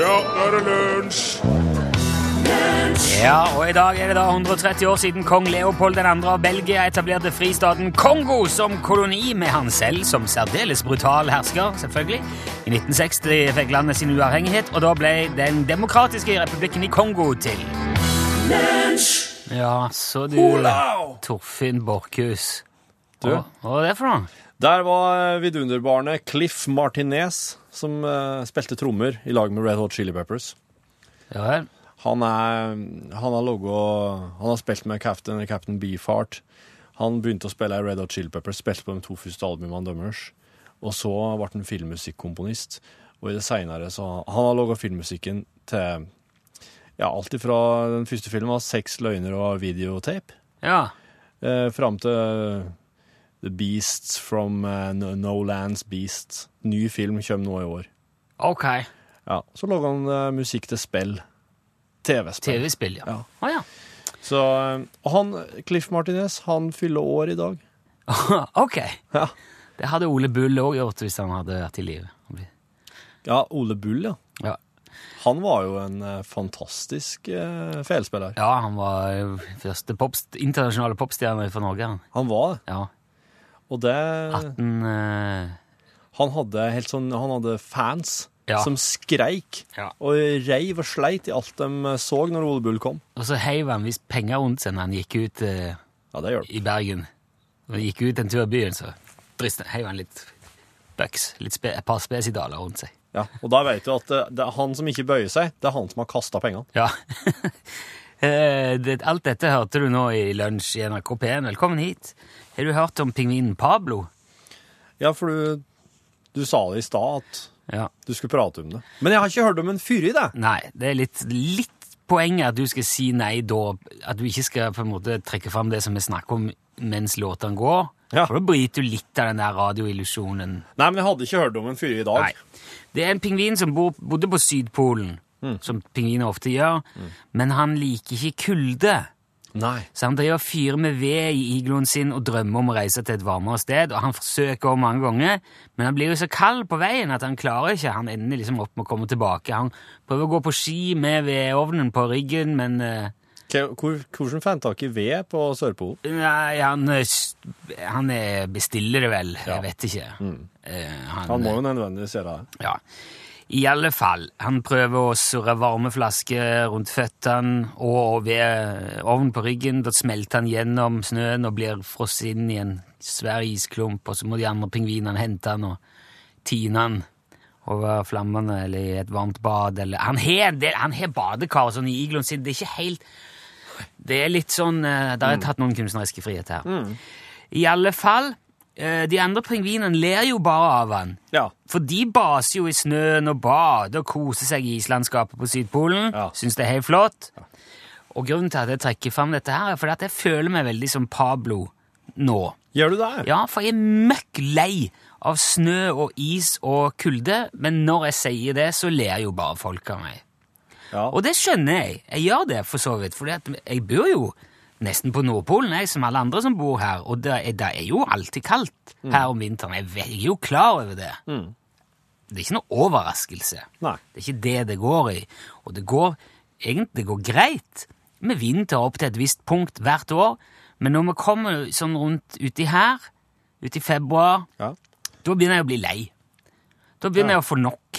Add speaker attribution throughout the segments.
Speaker 1: Ja, nå er det lunsj!
Speaker 2: Ja, og i dag er det da 130 år siden kong Leopold 2. av Belgia etablerte fristaten Kongo som koloni med han selv som særdeles brutal hersker, selvfølgelig. I 1960 fikk landet sin uavhengighet, og da ble Den demokratiske republikken i Kongo til. Ja, så du
Speaker 1: Olav!
Speaker 2: Torfinn Borchhus.
Speaker 3: Du?
Speaker 2: Hva, hva var det for noe?
Speaker 3: Der var eh, vidunderbarnet Cliff Martinez, som eh, spilte trommer i lag med Red Hot Chili Peppers.
Speaker 2: Ja vel.
Speaker 3: Han, er, han har logget, Han har spilt med Captain, Captain Beefheart. Han begynte å spille i Red Hot Chili Peppers, spilte på de to første albumene deres. Og så ble han filmmusikkomponist. Og i det senere så Han har laga filmmusikken til ja, alt ifra den første filmen, Seks løgner og videotape,
Speaker 2: Ja.
Speaker 3: eh, fram til The Beasts from eh, No No Lands Beasts. Ny film kommer nå i år.
Speaker 2: Ok.
Speaker 3: Ja, Så lager han eh, musikk til spill. TV-spill.
Speaker 2: TV-spill, ja. Å
Speaker 3: Ja.
Speaker 2: ja.
Speaker 3: Så, eh, og han, Cliff Martinez, han fyller år i dag.
Speaker 2: ok.
Speaker 3: Ja.
Speaker 2: Det hadde Ole Bull òg gjort hvis han hadde vært i live.
Speaker 3: ja, Ole Bull, ja.
Speaker 2: Ja.
Speaker 3: Han var jo en eh, fantastisk eh, felspiller.
Speaker 2: Ja, han var jo første popst, internasjonale popstjerne fra Norge. han.
Speaker 3: Han var det.
Speaker 2: Ja,
Speaker 3: Og det
Speaker 2: 18... eh,
Speaker 3: Han hadde helt sånn Han hadde fans
Speaker 2: Ja.
Speaker 3: som skreik
Speaker 2: Ja.
Speaker 3: og reiv og sleit i alt de eh, så når Ole Bull kom.
Speaker 2: og så heiv han visst penger rundt seg når han gikk ut eh,
Speaker 3: Ja, det hjelper.
Speaker 2: i Bergen. Når han gikk ut en tur i byen, så drist- heiv han litt bucks, litt spe, et par spesidaler rundt seg.
Speaker 3: Ja. Og da vet du at eh, det er han som ikke bøyer seg, det er han som har kasta pengene.
Speaker 2: Ja. Eh, det, alt dette hørte du nå i lunsj i NRK P1. Velkommen hit. Har du hørt om pingvinen Pablo?
Speaker 3: Ja, for du, du sa det i stad at
Speaker 2: Ja.
Speaker 3: du skulle prate om det. Men jeg har ikke hørt om en fyr i det.
Speaker 2: Nei, det er litt, litt poenget at du skal si nei da, at du ikke skal på en måte trekke fram det som vi snakker om mens låtene går.
Speaker 3: Ja.
Speaker 2: For da bryter du litt av den der radioillusjonen.
Speaker 3: Nei, men jeg hadde ikke hørt om en fyr i dag.
Speaker 2: Nei. Det er en pingvin som bor, bodde på Sydpolen, som pingviner ofte gjør, men han liker ikke kulde.
Speaker 3: Nei.
Speaker 2: Så han driver og fyrer med ved i igloen sin og drømmer om å reise til et varmere sted, og han forsøker mange ganger, men han blir jo så kald på veien at han klarer ikke. Han ender liksom opp med å komme tilbake. Han prøver å gå på ski med vedovnen på ryggen, men eh,
Speaker 3: Hva- Hvor, hvordan fant dere tak i ved på Sørpolen?
Speaker 2: Nei, han, eh, s- han eh, bestiller det vel. Jeg vet ikke. Eh,
Speaker 3: Han må jo nødvendigvis gjøre det.
Speaker 2: Ja. I alle fall, han prøver å surre varme flasker rundt føttene og ved ovnen på ryggen. Da smelter han gjennom snøen og blir frosset inn i en svær isklump, og så må de andre pingvinene hente han og tine han over flammene eller i et varmt bad. Eller. Han har en del- han har badekar og sånn i igloen sin. Det er ikke helt Det er litt sånn eh, Der har jeg tatt noen kunstneriske friheter her. I alle fall, eh, de andre pingvinene ler jo bare av han.
Speaker 3: Ja.
Speaker 2: For de baser jo i snøen og bader og koser seg i islandskapet på Sydpolen.
Speaker 3: Ja.
Speaker 2: Syns det er helt flott. Og grunnen til at jeg trekker fram dette her, er fordi at jeg føler meg veldig som Pablo nå.
Speaker 3: Gjør du det?
Speaker 2: Ja, for jeg er møkk lei av snø og is og kulde, men når jeg sier det, så ler jo bare folk av meg.
Speaker 3: Ja.
Speaker 2: Og det skjønner jeg. Jeg gjør det for så vidt, for jeg bor jo nesten på Nordpolen, jeg, som alle andre som bor her, og det er, det er jo alltid kaldt her om vinteren. Jeg vet- jeg er jo klar over det. Det er ikke noe overraskelse.
Speaker 3: Nei.
Speaker 2: Det er ikke det det går i. Og det går egentlig det går greit med vinter opp til et visst punkt hvert år, men når vi kommer sånn rundt uti her, uti februar,
Speaker 3: Ja.
Speaker 2: da begynner jeg å bli lei. Da begynner jeg å få nok.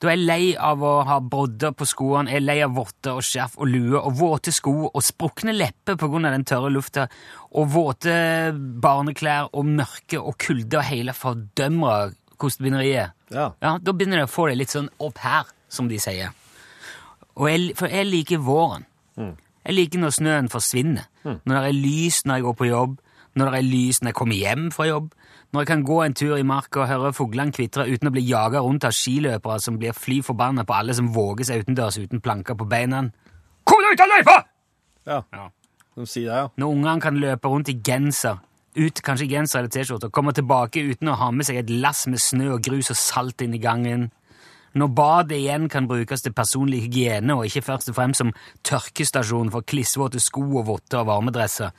Speaker 2: Da er jeg lei av å ha brodder på skoene, jeg er lei av votter og skjerf og lue og våte sko og sprukne lepper på grunn av den tørre lufta og våte barneklær og mørke og kulde og hele fordømra kostebinderiet.
Speaker 3: ja.
Speaker 2: Ja, da begynner jeg å få det litt sånn opp her, som de sier. Og jeg, for jeg liker våren. Jeg liker når snøen forsvinner. Når det er lys når jeg går på jobb, når det er lys når jeg kommer hjem fra jobb, når jeg kan gå en tur i marka og høre fuglene kvitre uten å bli jaga rundt av skiløpere som blir fly forbanna på alle som våger seg utendørs uten planker på beina. Kom deg ut av løypa!
Speaker 3: ja.
Speaker 2: Ja.
Speaker 3: De sier det, ja.
Speaker 2: Når ungene kan løpe rundt i genser, ut kanskje i genser eller T-skjorte, og komme tilbake uten å ha med seg et lass med snø og grus og salt inn i gangen. Når badet igjen kan brukes til personlig hygiene, og ikke først og fremst som tørkestasjon for klissvåte sko og votter og varmedresser.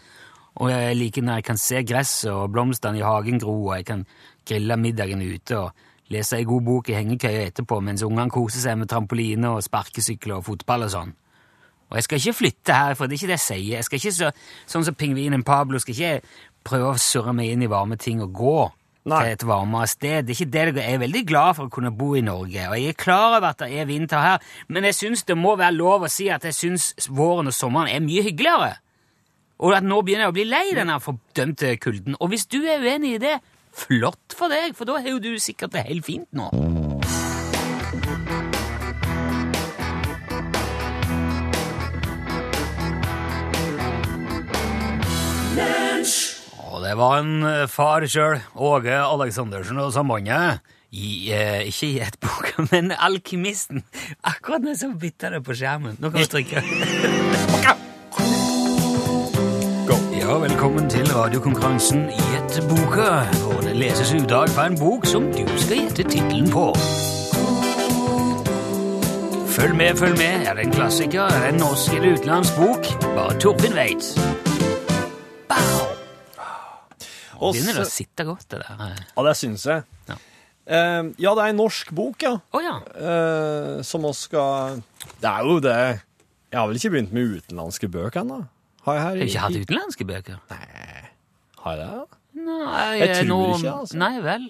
Speaker 2: Og jeg liker når jeg kan se gresset og blomstene i hagen gro, og jeg kan grille middagen ute og lese ei god bok i hengekøya etterpå mens ungene koser seg med trampoline og sparkesykler og fotball og sånn. Og jeg skal ikke flytte her, for det er ikke det jeg sier. Jeg skal ikke så, sånn som pingvinen Pablo skal ikke prøve å surre meg inn i varme ting og gå
Speaker 3: Nei.
Speaker 2: til et varmere sted. Det er ikke det det går. Jeg er veldig glad for å kunne bo i Norge, og jeg er klar over at det er vinter her, men jeg syns det må være lov å si at jeg syns våren og sommeren er mye hyggeligere. Og at nå begynner jeg å bli lei denne fordømte kulden. Og hvis du er uenig i det, flott for deg, for da har jo du sikkert det helt fint nå. Og det var en eh, far sjøl, Åge Aleksandersen og sambandet. I, eh, ikke i et bok, men Alkymisten. Akkurat nå så bytta det på skjermen. Nå kan vi trykke. Ja, velkommen til radiokonkurransen Gjett boka, hvor eh, det leses utdrag fra en bok som du skal gjette tittelen på. Følg med, følg med. Er det en klassiker, er det en norsk eller utenlandsk bok? Bare Torfinn veit. Bow!
Speaker 3: Og
Speaker 2: Begynner det å
Speaker 3: så-
Speaker 2: sitte godt, det der.
Speaker 3: Ja, det syns jeg.
Speaker 2: Ja.
Speaker 3: Eh, ja, det er en norsk bok, ja.
Speaker 2: Å ja.
Speaker 3: Eh, som oss skal Det er jo det Jeg har vel ikke begynt med utenlandske bøker ennå? Har jeg her?
Speaker 2: Har du ikke hatt utenlandske bøker?
Speaker 3: Har jeg det?
Speaker 2: Nei,
Speaker 3: Jeg tror
Speaker 2: nå-
Speaker 3: ikke, altså.
Speaker 2: Nei vel.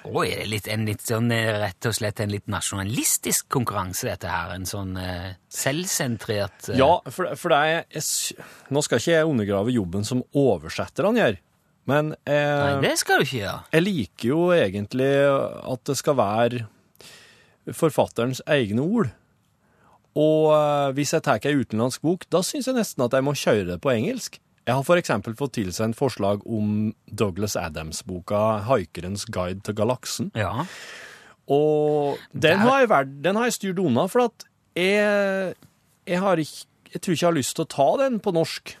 Speaker 2: Å, er det litt, en litt sånn eh, rett og slett en litt nasjonalistisk konkurranse, dette her? En sånn eh, selvsentrert eh,
Speaker 3: Ja, for, for det er jeg, sy- Nå skal ikke jeg undergrave jobben som oversetterne gjør, men
Speaker 2: Nei,
Speaker 3: eh,
Speaker 2: det skal du ikke gjøre.
Speaker 3: jeg liker jo egentlig at det skal være forfatterens egne ord. Og eh, hvis jeg tar ei utenlandsk bok, da syns jeg nesten at jeg må kjøre det på engelsk. Jeg har for eksempel fått tilsendt forslag om Douglas Adams-boka 'Haikerens guide til galaksen'.
Speaker 2: Ja.
Speaker 3: Og den
Speaker 2: Der-
Speaker 3: har, jeg vært, den har jeg styrt unna, for at jeg, jeg, har ikke, jeg tror ikke jeg har lyst til å ta den på norsk.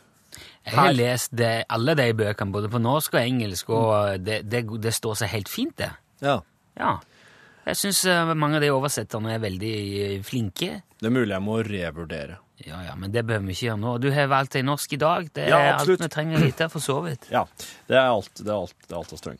Speaker 2: Jeg har
Speaker 3: Her.
Speaker 2: lest det, alle de bøkene, både på norsk og engelsk, og eh, det, det, det står seg helt fint, det.
Speaker 3: Ja.
Speaker 2: Ja. Jeg syns mange av de oversetterne er veldig eh, flinke.
Speaker 3: Det er mulig jeg må revurdere.
Speaker 2: Ja, ja, men det behøver vi ikke gjøre nå. Du har valgt ei norsk i dag. Det er
Speaker 3: Ja, absolutt.
Speaker 2: alt vi trenger å vite, for så vidt.
Speaker 3: Ja, det er alt, det er alt, det er alt av strøng.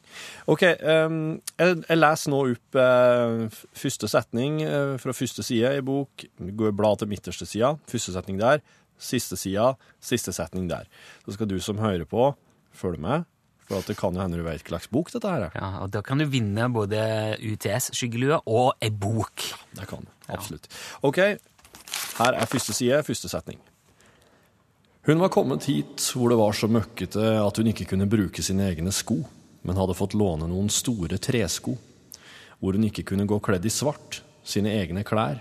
Speaker 3: Ok, ehm, jeg, jeg leser nå opp eh, f- første setning eh, fra første side i bok. Går blad til midterste sida, første setning der, siste sida, siste setning der. Så skal du som hører på, følge med, for at det kan jo hende du vet hva slags bok dette her er.
Speaker 2: Ja, og Da kan du vinne både UTS-skyggelue og ei bok.
Speaker 3: Det kan det, absolutt. Ok, her er første side, første setning. Hun var kommet hit hvor det var så møkkete at hun ikke kunne bruke sine egne sko, men hadde fått låne noen store tresko, hvor hun ikke kunne gå kledd i svart, sine egne klær,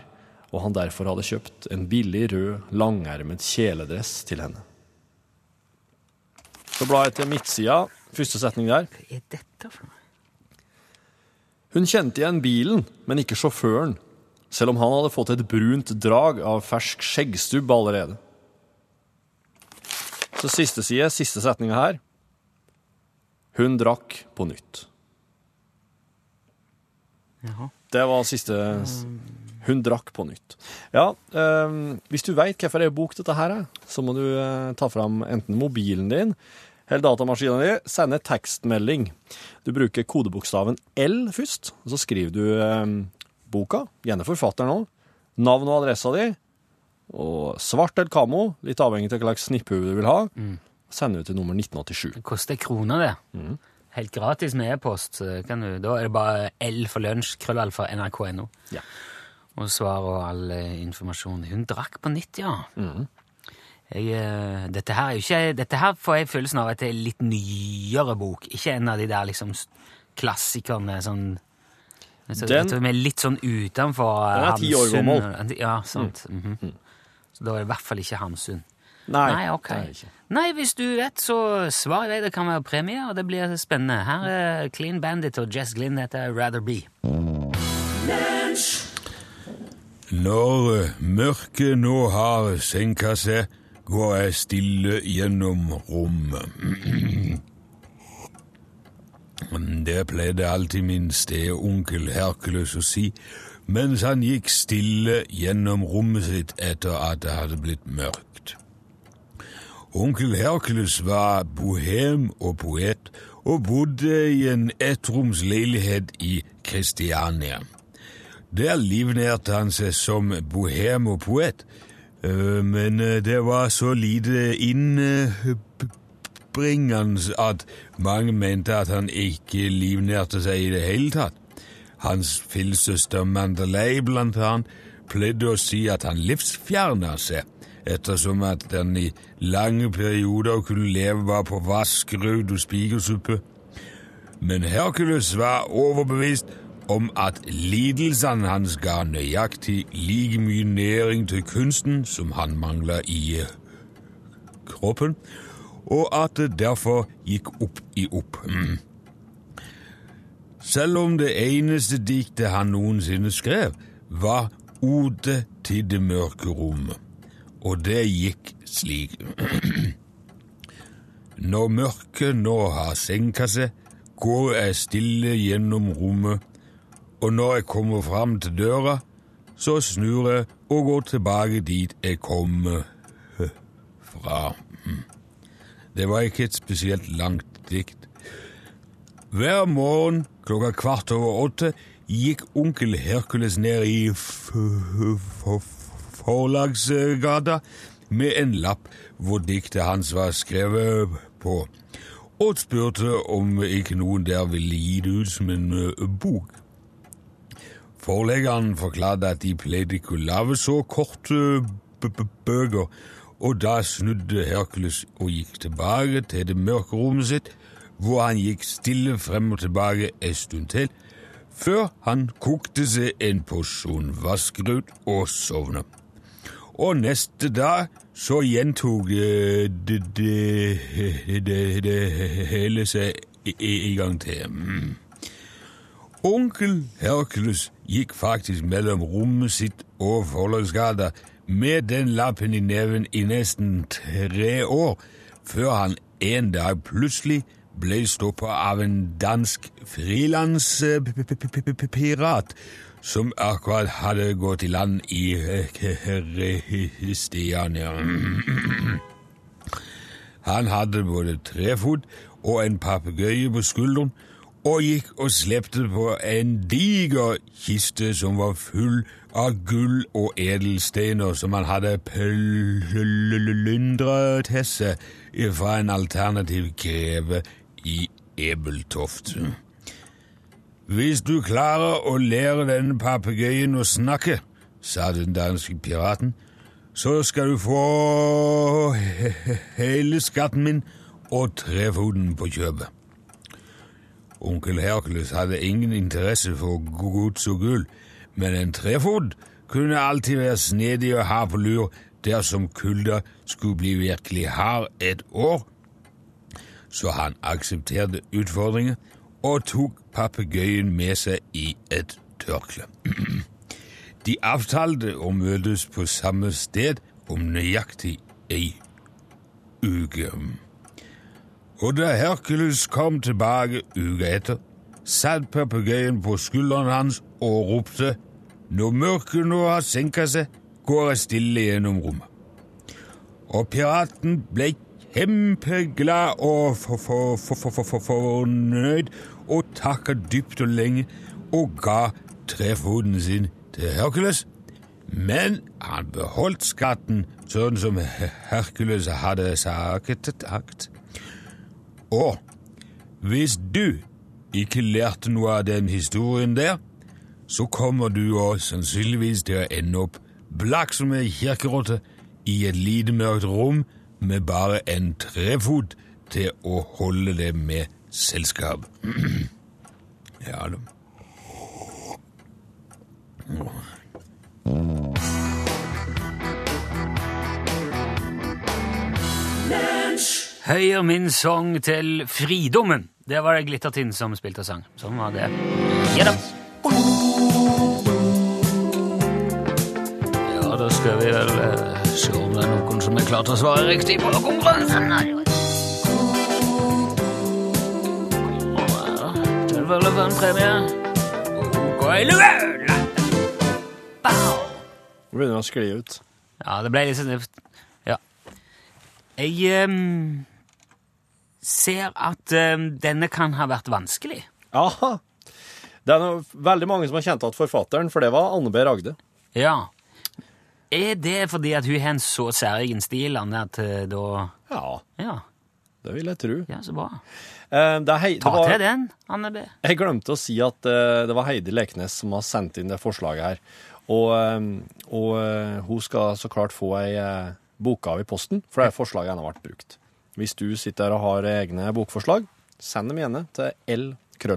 Speaker 3: og han derfor hadde kjøpt en billig rød, langermet kjeledress til henne. Så bla jeg til midtsida, første setning der.
Speaker 2: Hva er dette for noe?
Speaker 3: Hun kjente igjen bilen, men ikke sjåføren, selv om han hadde fått et brunt drag av fersk skjeggstubb allerede. Så siste side, siste setninga her. Hun drakk på nytt.
Speaker 2: Jaha.
Speaker 3: Det var siste Hun drakk på nytt. Ja, eh, hvis du veit hvorfor ei bok dette her er, så må du eh, ta fram enten mobilen din eller datamaskinen din, sende tekstmelding. Du bruker kodebokstaven L først, og så skriver du eh, boka, gjerne forfatteren òg, navn og adressa di, og svart eller kamo, litt avhengig av hva slags snipphue du vil ha, sender du til nummer 1987.
Speaker 2: Det koster ei krone, det.
Speaker 3: Mm.
Speaker 2: Helt gratis med e-post. så kan du- Da er det bare L for lunsj, krøllalf for nrk.no.
Speaker 3: Ja.
Speaker 2: Og svar og all eh, informasjon. Hun drakk på nytt, ja.
Speaker 3: Mm.
Speaker 2: Jeg, eh, dette her er jo ikke Dette her får jeg følelsen av at det er en litt nyere bok. Ikke en av de der liksom s- klassikerne sånn så,
Speaker 3: Den-
Speaker 2: den, er litt sånn utenfor eh,
Speaker 3: Den er ti år
Speaker 2: Hamsun.
Speaker 3: gammel. Mm.
Speaker 2: Ja, sant. Mhm. Så da er det i hvert fall ikke Hamsun.
Speaker 3: Nei,
Speaker 2: Nei, ok.
Speaker 3: det er det ikke.
Speaker 2: Nei, hvis du vet, så svar i vei. Det kan være premie, og det blir spennende. Her er Clean Bandit og Jess Glynn. Dette er Rather Be.
Speaker 1: Når eh, mørket nå har senka seg, går jeg stille gjennom rommet. Det pleide alltid min steonkel Hercules å si mens han gikk stille gjennom rommet sitt etter at det hadde blitt mørkt. Onkel Hercules var bohem og poet og bodde i en ettromsleilighet i Kristiania. Der livnærte han seg som bohem og poet, eh, men eh, det var så lite innbringende at mange mente at han ikke livnærte seg i det hele tatt. Hans filsøster Mandalay, blant annet, pleide å si at han livsfjerna seg, ettersom at han i lange perioder kunne leve bare på vask, rød og spikersuppe men Hercules var overbevist om at lidelsene hans ga nøyaktig like mye næring til kunsten som han mangla i eh, kroppen, og at det derfor gikk opp i opp. Mm. Selv om det eneste diktet han noensinne skrev, var Ode til det mørke rom, og det gikk slik. Når mørket nå har senka seg, går jeg stille gjennom rommet, og når jeg kommer fram til døra, så snur jeg og går tilbake dit jeg kom eh, fra. Mm. Det var ikke et spesielt langt dikt. Hver morgen klokka kvart over åtte gikk onkel Hercules ned i f- f- forlagsgata med en lapp hvor diktet hans var skrevet på, og spurte om ikke noen der ville gi det ut som en ø, bok. Forleggeren forklarte at de pleide ikke å lage så korte b- b- bøker, og da snudde Hercules og gikk tilbake til det mørke rommet sitt, hvor han gikk stille frem og tilbake en stund til, før han kokte seg en porsjon vaskerut og sovnet. Og neste dag så gjentok eh, det, det, det, det hele seg i, i gang til. Mm. Onkel Hercules gikk faktisk mellom rommet sitt og forlagsgata med den lappen i neven i nesten tre år, før han en dag plutselig ble stoppa av en dansk frilanspirat som akkurat hadde gått i land i eh, Kristiania. Han hadde både trefot og en papegøye på skulderen, og gikk og slepte på en diger kiste som var full av gull og edelstener som han hadde plyndret til seg fra en alternativ greve i Ebeltoft. Hvis du klarer å lære denne papegøyen å snakke, sa den danske piraten, så skal du få he- he- hele skatten min og trefoten på kjøpet. Onkel Hercules hadde ingen interesse for gods og gull, men en trefot kunne alltid være snedig å ha på lur dersom kulda skulle bli virkelig hard et år. Så han aksepterte utfordringen og tok papegøyen med seg i et tørkle. De avtalte å møtes på samme sted om nøyaktig ei uke. Og da Hercules kom tilbake uka etter, satt papegøyen på skulderen hans og ropte Når mørket nå har senka seg, går jeg stille gjennom rommet. Og piraten ble kjempeglad og for- for- for- for- for- for- fornøyd og takka dypt og lenge og ga trefoten sin til Hercules. Men han beholdt skatten sånn som Her- Hercules hadde sagt. takt. Og hvis du ikke lærte noe av den historien der, så kommer du òg sannsynligvis til å ende opp blakk som ei kirkerotte i et lite mørkt rom med bare en trefot til å holde det med selskap. ja da.
Speaker 2: Høyer min sang til fridommen. Det var det Glittertind som spilte og sang. Sånn var det. Ja da. Ja, da skal vi vel eh, se om det er noen som er klar til å svare riktig på konkurransen. Ja, Det er vel en premie. Ok, lue! Bow!
Speaker 3: Nå begynner det å skli ut.
Speaker 2: Ja, det ble litt sånn Ja. Jeg ehm, ser at eh, denne kan ha vært vanskelig.
Speaker 3: Aha. Det er noe, veldig mange som har kjent igjen forfatteren, for det var Anne B. Ragde.
Speaker 2: Ja. Er det fordi at hun har en så særegen stil, Anne, at eh, da
Speaker 3: Ja,
Speaker 2: Ja,
Speaker 3: det vil jeg tro.
Speaker 2: ja så bra.
Speaker 3: Eh, det er hei, det
Speaker 2: Ta
Speaker 3: var,
Speaker 2: til den, Anne B.
Speaker 3: Jeg glemte å si at eh, det var Heidi Leknes som har sendt inn det forslaget her. Og, eh, og eh, hun skal så klart få ei eh, bokgave i posten, for det er forslaget ennå vært brukt. Hvis du sitter her og har egne bokforslag, send dem gjerne til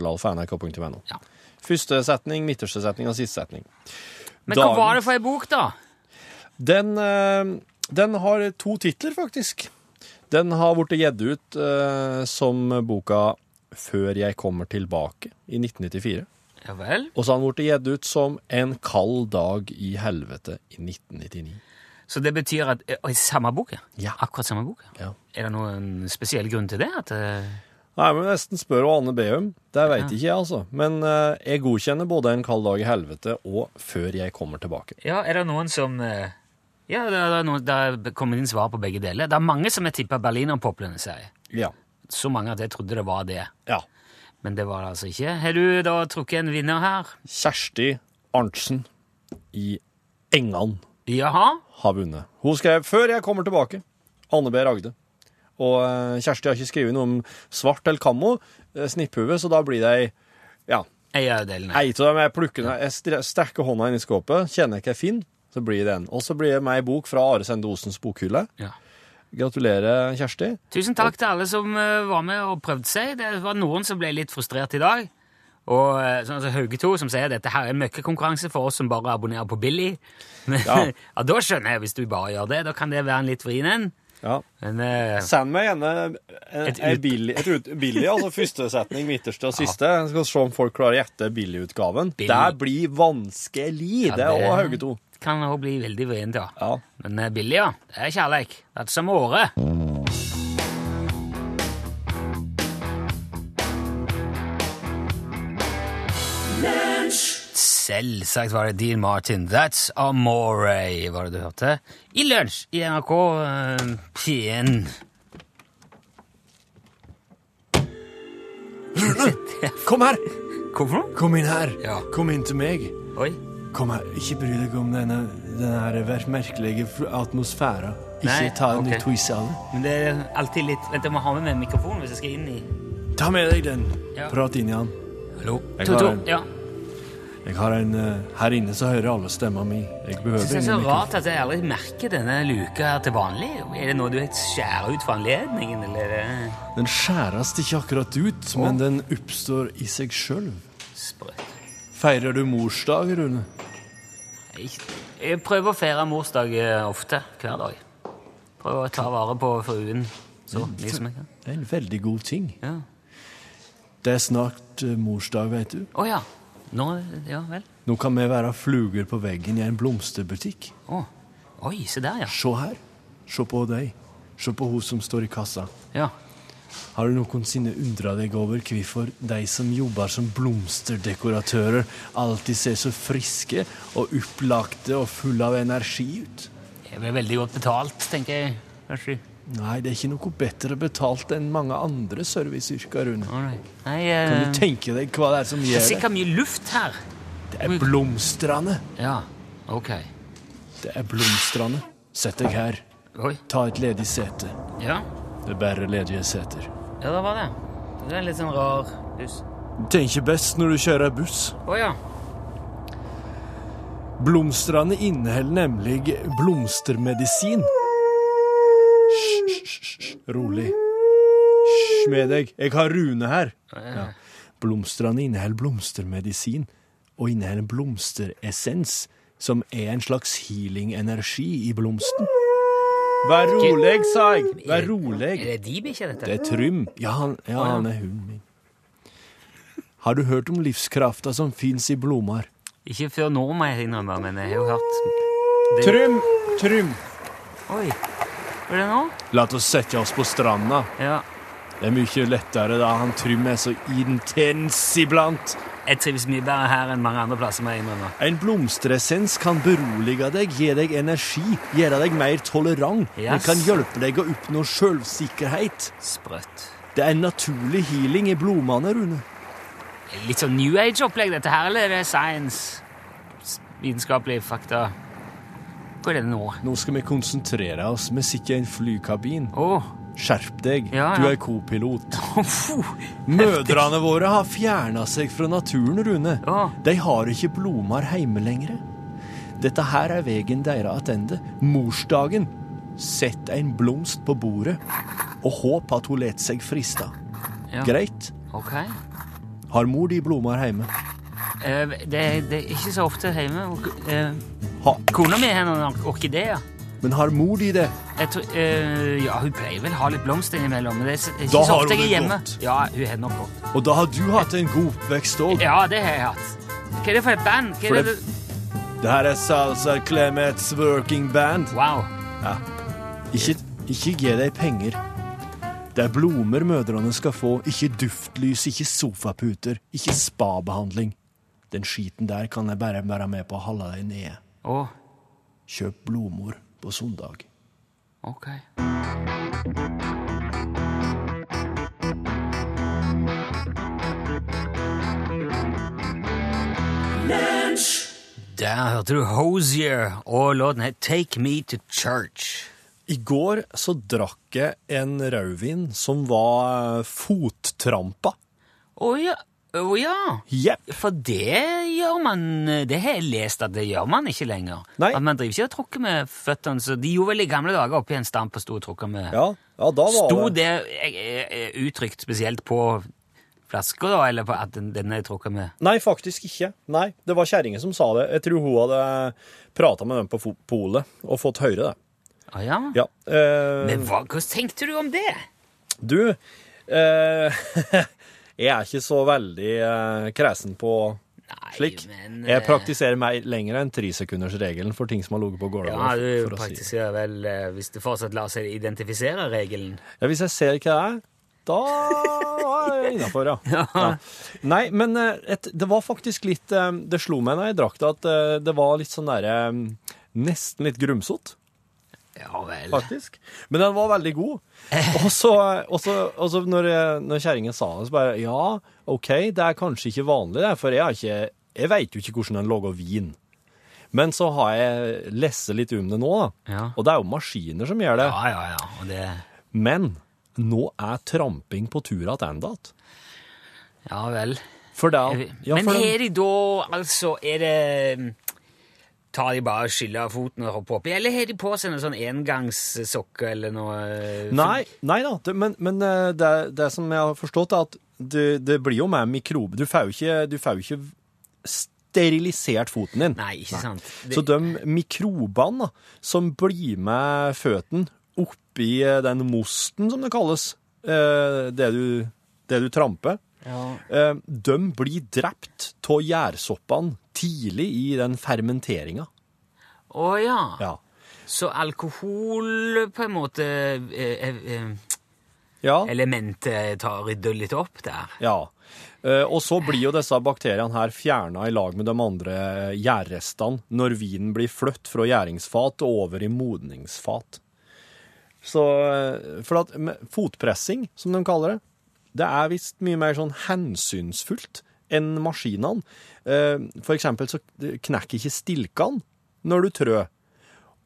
Speaker 3: lkrøllalfa.nrk.no.
Speaker 2: Ja.
Speaker 3: Første setning, midterste setning og siste setning.
Speaker 2: Men hva
Speaker 3: Dagens-
Speaker 2: var det for ei bok, da?
Speaker 3: Den, eh, den har to titler, faktisk. Den har blitt gitt ut eh, som boka Før jeg kommer tilbake i 1994.
Speaker 2: Ja vel.
Speaker 3: Og så har han blitt gitt ut som En kald dag i helvete i 1999.
Speaker 2: Så det betyr at eh, oi, Samme bok,
Speaker 3: Ja.
Speaker 2: Akkurat samme bok. ja.
Speaker 3: Ja.
Speaker 2: Er det noen spesiell grunn til det? At, eh,
Speaker 3: Nei, men nesten spør hva Anne Beum. Det veit ikke jeg, altså. Men eh, jeg godkjenner både En kald dag i helvete og Før jeg kommer tilbake.
Speaker 2: ja, er det noen som eh, Ja, det er, noen, det er kommet inn svar på begge deler. Det er mange som har tippa berlinerpoplene, sier jeg.
Speaker 3: Ja.
Speaker 2: Så mange at jeg trodde det var det.
Speaker 3: ja.
Speaker 2: Men det var det altså ikke. Har du da trukket en vinner her?
Speaker 3: Kjersti Arntzen i Engan
Speaker 2: Jaha?
Speaker 3: har vunnet. Hun skrev 'Før jeg kommer tilbake'. Anne B. Ragde. Og eh, Kjersti har ikke skrevet noe om svart eller kammo, eh, snipphue, så da blir det ei ja,
Speaker 2: Jeg er delen.
Speaker 3: Ei av dem jeg plukker ned. Jeg stre- strekker hånda inn i skåpet, kjenner jeg ikke jeg finner, så blir det en. Og så blir det meg ei bok fra Are Sende Osens bokhylle.
Speaker 2: Ja.
Speaker 3: Gratulerer, Kjersti.
Speaker 2: Tusen takk til alle som eh, var med og prøvde seg. Det var noen som ble litt frustrert i dag. Og eh, sånn som Hauge 2, som sier dette her er møkkekonkurranse for oss som bare abonnerer på Billy. Men, ja.
Speaker 3: Ja.
Speaker 2: Da skjønner jeg, hvis du bare gjør det. Da kan det være en litt vrien en.
Speaker 3: Ja.
Speaker 2: Men eh,
Speaker 3: Send meg gjerne en-
Speaker 2: Et
Speaker 3: ei
Speaker 2: ut-
Speaker 3: billig, et ut, billig, altså første setning, midterste og siste. Jeg Skal se om folk klarer å gjette billigutgaven.
Speaker 2: Billig.
Speaker 3: Det blir vanskelig, det
Speaker 2: det-
Speaker 3: òg, Hauge 2.
Speaker 2: kan òg bli veldig vrient, ja.
Speaker 3: Ja.
Speaker 2: Men eh, Billy, ja. Det er kjærleik. Det er som året. Selvsagt var det Dean Martin. That's Amore, var det du hørte. I lunsj i NRK eh, P1.
Speaker 3: Kom her!
Speaker 2: Hvorfor noe?
Speaker 3: Kom inn her.
Speaker 2: Ja.
Speaker 3: Kom inn til meg.
Speaker 2: Oi.
Speaker 3: Kom her. Ikke bry deg om denne, merkelige atmosfæren.
Speaker 2: Ikke Nei, ta en ok.
Speaker 3: twist av det.
Speaker 2: Men det er alltid litt Vent, jeg må ha med meg mikrofonen hvis jeg skal inn i
Speaker 3: Ta med deg den.
Speaker 2: Ja.
Speaker 3: Prat inn i han.
Speaker 2: Hallo?
Speaker 3: Jeg
Speaker 2: To,
Speaker 3: har
Speaker 2: to.
Speaker 3: en.
Speaker 2: Ja.
Speaker 3: Jeg har en eh, Her inne så hører alle stemma mi. Jeg behøver
Speaker 2: Jeg synes det
Speaker 3: ingen
Speaker 2: er så
Speaker 3: mikrofon.
Speaker 2: rart at jeg aldri merker denne luka her til vanlig. Er det noe du helt skjærer ut for anledningen, eller? er det
Speaker 3: Den skjæres ikke akkurat ut, men den oppstår i seg sjøl.
Speaker 2: Sprøtt.
Speaker 3: Feirer du morsdag, Rune?
Speaker 2: Jeg, jeg prøver å feire morsdag eh, ofte, hver dag. Prøver å ta vare på fruen Mm, så mye som jeg kan.
Speaker 3: Det er en veldig god ting.
Speaker 2: Ja.
Speaker 3: Det er snart eh, morsdag, vet du.
Speaker 2: Å ja. Nå, ja vel.
Speaker 3: Nå kan vi være fluger på veggen i en blomsterbutikk.
Speaker 2: Å. Oi, se der, ja.
Speaker 3: Se her. Se på deg. Se på hun som står i kassa.
Speaker 2: Ja.
Speaker 3: Har du noensinne undra deg over hvorfor de som jobber som blomsterdekoratører, alltid ser så friske og opplagte og fulle av energi ut?
Speaker 2: Jeg blir veldig godt betalt, tenker jeg. Kanskje.
Speaker 3: Nei, det er ikke noe bedre betalt enn mange andre serviceyrker, Rune.
Speaker 2: All right. Nei,
Speaker 3: Kan
Speaker 2: eh,
Speaker 3: du tenke deg hva det er som
Speaker 2: det er
Speaker 3: gjør det?
Speaker 2: sikkert mye luft her.
Speaker 3: Det er blomstrene.
Speaker 2: Ja, ok.
Speaker 3: Det er blomstrene. Sett deg her.
Speaker 2: Oi.
Speaker 3: Ta et ledig sete.
Speaker 2: Ja,
Speaker 3: Det er bare ledige seter.
Speaker 2: ja det var det. Det er en litt sånn rar hus.
Speaker 3: Du tenker best når du kjører buss.
Speaker 2: Å ja.
Speaker 3: Blomstrene inneholder nemlig blomstermedisin. Hysj, hysj, hysj. Rolig. Hysj med deg. Jeg har Rune her. Ja. Blomstrene inneholder blomstermedisin og inneholder blomsteressens, som er en slags healing-energi i blomsten. Vær rolig, sa jeg. Vær
Speaker 2: Er
Speaker 3: rolig.
Speaker 2: det de bikkja,
Speaker 3: Det
Speaker 2: dette?
Speaker 3: er Trym. Ja, han, ja, han er hunden min. Har du hørt om livskrafta som fins i blomster?
Speaker 2: Ikke før nå, må jeg innrømme, men jeg har jo hørt
Speaker 3: Trym! Trym!
Speaker 2: Oi, var det nå?
Speaker 3: La oss sette oss på stranda.
Speaker 2: Ja.
Speaker 3: Det er mye lettere da han Trym er så intens iblant.
Speaker 2: Jeg trives mye bedre her enn mange andre plasser, må jeg innrømme.
Speaker 3: En blomsteressens kan berolige deg, gi deg energi, gjøre deg mer tolerant. Den
Speaker 2: Yes.
Speaker 3: kan hjelpe deg å oppnå selvsikkerhet.
Speaker 2: Sprøtt.
Speaker 3: Det er en naturlig healing i blodmannen, Rune.
Speaker 2: Litt sånn New Age-opplegg, dette her, eller er det science? S- Vitenskapelige fakta? Hva er det nå?
Speaker 3: Nå skal vi konsentrere oss. Vi sitter i en flykabin.
Speaker 2: Å,
Speaker 3: Skjerp deg.
Speaker 2: Ja,
Speaker 3: Du
Speaker 2: ja.
Speaker 3: er co-pilot.
Speaker 2: fu.
Speaker 3: Mødrene våre har fjerna seg fra naturen, Rune.
Speaker 2: Ja.
Speaker 3: De har ikke blomar hjemme lenger. Dette her er veien deres attende. Morsdagen. Sett en blomst på bordet, og håp at hun lar seg frista.
Speaker 2: Ja.
Speaker 3: Greit.
Speaker 2: Ok.
Speaker 3: Har mor di blomar hjemme?
Speaker 2: Eh, det, det er ikke så ofte hjemme. Ok, eh,
Speaker 3: Ha.
Speaker 2: Kona mi har noen ork- orkideer.
Speaker 3: Men har mor di det?
Speaker 2: Jeg tror, eh, ja, hun pleier vel å ha litt blomster innimellom, men det er s- ikke
Speaker 3: Da
Speaker 2: så
Speaker 3: har
Speaker 2: ofte
Speaker 3: hun
Speaker 2: jeg
Speaker 3: det
Speaker 2: er hjemme.
Speaker 3: godt.
Speaker 2: Ja, hun har nok godt.
Speaker 3: Og da har du hatt en god oppvekst òg.
Speaker 2: Ja, det har jeg hatt. Hva er det for et band? Hva
Speaker 3: For
Speaker 2: er
Speaker 3: det-
Speaker 2: det?
Speaker 3: Det her er Salsa Clemets Working Band.
Speaker 2: du- Wow.
Speaker 3: Ikke, ikke gi deg penger. Det er blomer mødrene skal få, ikke duftlys, ikke sofaputer, ikke spabehandling. Den skiten der kan jeg bare være med på å holde deg nede.
Speaker 2: Å,
Speaker 3: Kjøp blomor på søndag.
Speaker 2: ok. Der hørte du Hosier, og låten het Take Me To Church.
Speaker 3: I går så drakk jeg en rødvin som var eh, fottrampa.
Speaker 2: Å ja. Å ja.
Speaker 3: Jepp.
Speaker 2: For det gjør man Det har jeg lest at det gjør man ikke lenger.
Speaker 3: Nei.
Speaker 2: At Man driver ikke og tråkker med føttene. Så de gjorde vel i gamle dager oppi en stamp og sto og tråkka med
Speaker 3: Ja, ja, da var
Speaker 2: Sto
Speaker 3: det
Speaker 2: det eh, eh, uttrykt spesielt på flasker, da, eller på at den, den er tråkka med?
Speaker 3: Nei, faktisk ikke. Nei, Det var kjerringa som sa det. Jeg tror hun hadde prata med dem på fo- polet og fått høre det.
Speaker 2: Å ja?
Speaker 3: Ja. eh,
Speaker 2: Men hva, hva tenkte du om det?
Speaker 3: Du, eh, jeg er ikke så veldig eh, kresen på
Speaker 2: Nei,
Speaker 3: slik.
Speaker 2: men,
Speaker 3: jeg
Speaker 2: eh,
Speaker 3: praktiserer meg lenger enn tresekundersregelen for ting som har ligget på gulvet.
Speaker 2: Ja, du
Speaker 3: for å si.
Speaker 2: praktiserer vel eh, Hvis det fortsatt lar seg identifisere regelen.
Speaker 3: ja, hvis jeg ser hva det er, da er jeg innafor, ja. ja. Nei, men eh, et, det var faktisk litt eh, Det slo meg da jeg drakk det, at eh, det var litt sånn derre eh, Nesten litt grumsete.
Speaker 2: Ja vel.
Speaker 3: faktisk. Men den var veldig god. Og så, og så- og så når, jeg- når kjerringen sa det, så bare Ja, OK, det er kanskje ikke vanlig, det, for jeg, har ikke, jeg vet jo ikke hvordan en lager vin. Men så har jeg lest litt om det nå, da.
Speaker 2: Ja.
Speaker 3: Og det er jo maskiner som gjør det.
Speaker 2: Ja, ja, ja. Og det
Speaker 3: Men nå er tramping på tur tilbake.
Speaker 2: Ja vel.
Speaker 3: For det
Speaker 2: Jeg
Speaker 3: at-
Speaker 2: vet-
Speaker 3: ja,
Speaker 2: Men
Speaker 3: for
Speaker 2: er
Speaker 3: den,
Speaker 2: de da Altså, er det Tar de bare og skyller av foten og hopper oppi, eller har de på seg noen sånn engangssokker eller noe eh,
Speaker 3: Nei, nei da, det, men, men eh, det, det som jeg har forstått, er at det, det blir jo mer mikrobe. Du får jo ikke, du får jo ikke sterilisert foten din.
Speaker 2: Nei, ikke sant? Det,
Speaker 3: Så de mikrobene da, som blir med føtten oppi eh, den mosten, som det kalles, eh, det du, det du tramper,
Speaker 2: ja.
Speaker 3: eh, de blir drept av gjærsoppene tidlig i den fermenteringa.
Speaker 2: Å ja.
Speaker 3: Ja.
Speaker 2: Så alkohol på en måte eh, eh, eh,
Speaker 3: Ja.
Speaker 2: Elementet tar rydder litt opp der.
Speaker 3: ja. Eh, Og så blir jo disse bakteriene her fjerna i lag med de andre gjærrestene når vinen blir flytt fra gjæringsfat og over i modningsfat. Så, eh, for at men fotpressing, som de kaller det, det er visst mye mer sånn hensynsfullt enn maskinene. Eh, For eksempel så knekker ikke stilkene når du trør.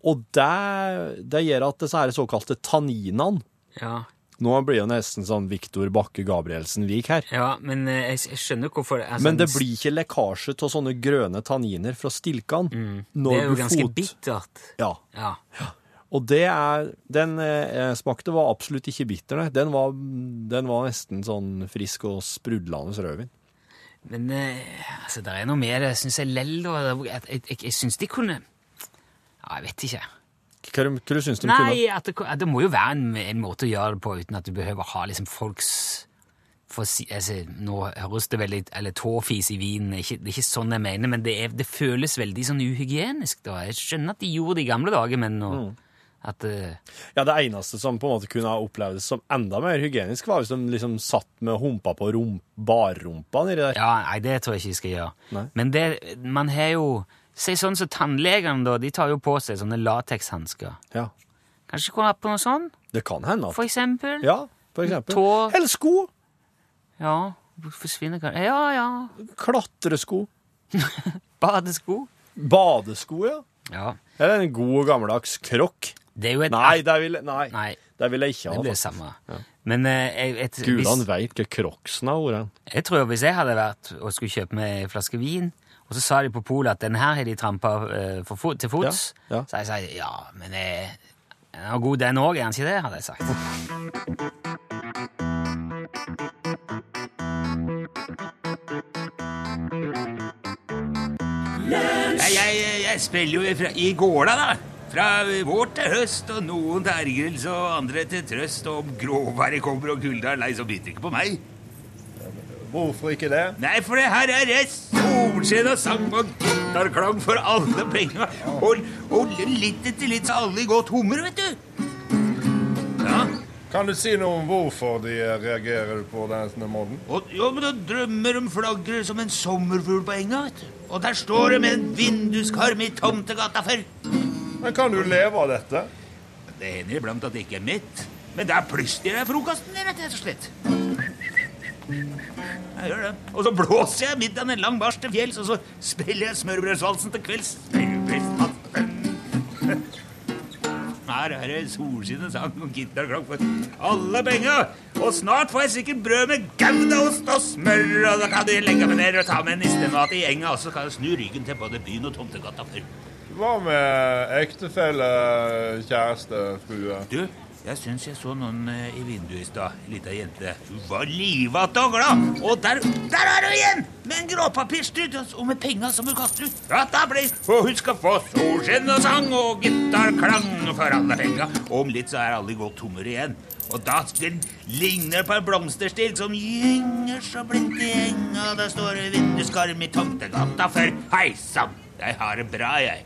Speaker 3: Og det, det gjør at disse her såkalte tanninene
Speaker 2: Ja,
Speaker 3: Nå blir det nesten sånn Viktor Bakke Gabrielsen-Vik her.
Speaker 2: ja men eh, jeg, jeg skjønner hvorfor det- altså,
Speaker 3: Men det blir ikke lekkasje av sånne grønne tanniner fra stilkene når
Speaker 2: Mm. Det er jo
Speaker 3: du
Speaker 2: ganske
Speaker 3: fot...
Speaker 2: bittert.
Speaker 3: Ja.
Speaker 2: Ja.
Speaker 3: Og det er Den eh, smakte var absolutt ikke bitter, nei. Den var, den var nesten sånn frisk og sprudlende rødvin.
Speaker 2: Men eh, altså, det er noe med det, syns jeg lell. da. Det- at- Jeg, jeg, jeg syns de kunne Ja, jeg vet ikke.
Speaker 3: Hva, de- hva du syns de kunne?
Speaker 2: Nei, at det, at det må jo være en, en måte å gjøre det på uten at du behøver å ha liksom folks for, å si- altså, Nå høres det veldig Eller tåfis i vinen, det er ikke, det er ikke sånn jeg mener, men det, er, det føles veldig sånn uhygienisk. da. Jeg skjønner at de gjorde det i gamle dager, men nå
Speaker 3: Mm.
Speaker 2: at, eh,
Speaker 3: Ja, Det eneste som på en måte kunne ha opplevdes som enda mer hygienisk, var hvis de liksom satt med humpa på rom, barrumpa nedi der.
Speaker 2: Ja, nei, det tror jeg ikke jeg skal gjøre.
Speaker 3: Nei.
Speaker 2: Men det, man har jo Si sånn som tannlegene, da. De tar jo på seg sånne latekshansker.
Speaker 3: Ja.
Speaker 2: Kanskje kunne hatt på noe sånn,
Speaker 3: Det kan hende at
Speaker 2: for eksempel?
Speaker 3: Ja. for eksempel.
Speaker 2: Tå-
Speaker 3: Eller sko.
Speaker 2: Ja, forsvinner kanskje Ja, ja.
Speaker 3: Klatresko.
Speaker 2: Badesko.
Speaker 3: Badesko, ja.
Speaker 2: Ja.
Speaker 3: Eller en god og gammeldags krokk.
Speaker 2: Det er jo et
Speaker 3: Nei, det vil, nei,
Speaker 2: Nei,
Speaker 3: det vil jeg ikke
Speaker 2: det
Speaker 3: ha. altså.
Speaker 2: blir det
Speaker 3: faktisk.
Speaker 2: samme. Men eh, jeg, et,
Speaker 3: Gudene
Speaker 2: hvis,
Speaker 3: veit hva kroksen har vært.
Speaker 2: jeg tror hvis jeg hadde vært og skulle kjøpe meg en flaske vin, og så sa de på polet at den her har de trampa eh, for fot, til fots,
Speaker 3: Ja, ja.
Speaker 2: så jeg sa ja, men eh, den var god den òg, er den ikke det? hadde jeg sagt.
Speaker 4: Nei, jeg, jeg, jeg spiller jo fra, i gårda, da. Fra vår til høst, og noen til ergrelse og andre til trøst. Og om gråværet kommer og kulda er lei, så biter det ikke på meg.
Speaker 3: Hvorfor ikke det?
Speaker 4: Nei, for det her er det solskinn og sang og gitarklang for alle penga. Og, og litt etter litt så alle i godt humør, vet du. Ja,
Speaker 5: Kan du si noe om hvorfor de eh, reagerer på denne måten?
Speaker 4: og jo, men da drømmer de flagrer som en sommerfugl på enga, vet du. Og der står de med en vinduskarm i tomtegata for.
Speaker 5: Men kan du leve av dette?
Speaker 4: Det hender iblant at det ikke er mitt. Men det er plutselig det er frokosten din, rett og slett. Jeg gjør det. Og så blåser jeg midt av en lang bars til fjells, og så spiller jeg smørbrødsvalsen til kvelds. Smørbrødsvalsen. Her er det solskinnet sang og gitarklang for alle penga. Og snart får jeg sikkert brød med goudaost og smør, og da kan de legge meg ned og ta med en nistemat i gjenga, og så kan jeg snu ryggen til både byen og tomtegata før.
Speaker 5: Hva med ektefelle, kjæreste, frue?
Speaker 4: Du, jeg syns jeg så noen eh, i vinduet i stad. Ei lita jente. Hun var livete og glad. Og der, der er hun igjen! Med en gråpapirstrut og og med penga som hun kaster ut. Ja, da blir Og hun skal få solskinn og sang og gitarklang for alle penga. Og om litt så er alle i godt humør igjen. Og da skal- ligner det på en blomsterstilk som gynger så blindt i enga. Der står det vinduskarm i tomtegata for Hei sann, jeg har det bra, jeg.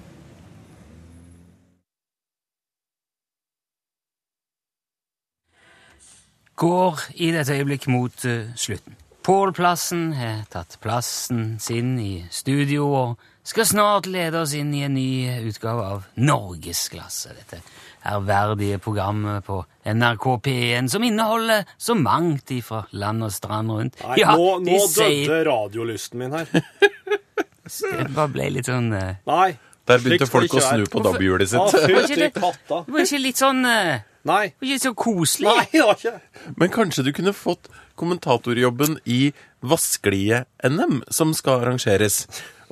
Speaker 2: går i dette øyeblikk mot eh, slutten. Pål Plassen har tatt plassen sin i studio og skal snart lede oss inn i en ny utgave av Norgesklasse. Dette ærverdige programmet på NRK P1 som inneholder så mangt ifra land og strand rundt.
Speaker 3: Nei, nå, nå døde radiolysten min her.
Speaker 2: Jeg bare ble litt sånn eh,
Speaker 3: Nei.
Speaker 6: Der begynte
Speaker 3: slik skal
Speaker 6: folk
Speaker 3: det
Speaker 6: å
Speaker 3: ikke
Speaker 6: snu
Speaker 3: være.
Speaker 6: på dobbelthjulet
Speaker 3: Å,
Speaker 6: sitt.
Speaker 3: fytti katta.
Speaker 2: Det var ikke litt sånn eh,
Speaker 3: Nei.
Speaker 2: det var ikke så koselig.
Speaker 3: Nei, det var ikke det.
Speaker 6: Men kanskje du kunne fått kommentatorjobben i Vaskelie-NM, som skal arrangeres.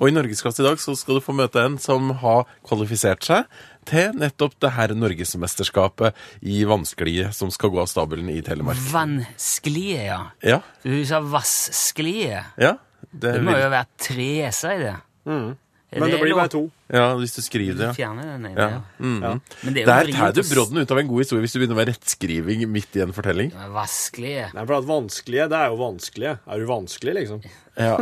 Speaker 6: Og i Norgesklasse i dag så skal du få møte en som har kvalifisert seg til nettopp det her norgesmesterskapet i vanskelige som skal gå av stabelen i Telemark.
Speaker 2: Vanskelige, ja.
Speaker 6: Ja,
Speaker 2: Du sa vasskelige.
Speaker 6: ja. Det
Speaker 2: Det må
Speaker 6: vil,
Speaker 2: jo være tre s-er i det. Er
Speaker 3: Mm. Men det blir
Speaker 2: lov?
Speaker 3: bare to.
Speaker 6: ja, hvis du skriver det, ja.
Speaker 2: Fjerne den ene.
Speaker 6: Ja. Mm.
Speaker 2: Ja.
Speaker 3: Ja.
Speaker 2: Men det er jo
Speaker 6: Der
Speaker 2: vrient
Speaker 6: tar du
Speaker 2: å s-
Speaker 6: brodden ut av en god historie hvis du begynner med rettskriving midt i en fortelling.
Speaker 2: Det er Vaskelig.
Speaker 3: Nei, for at vanskelige, det er jo vanskelige. Er du vanskelig, liksom?
Speaker 6: Ja,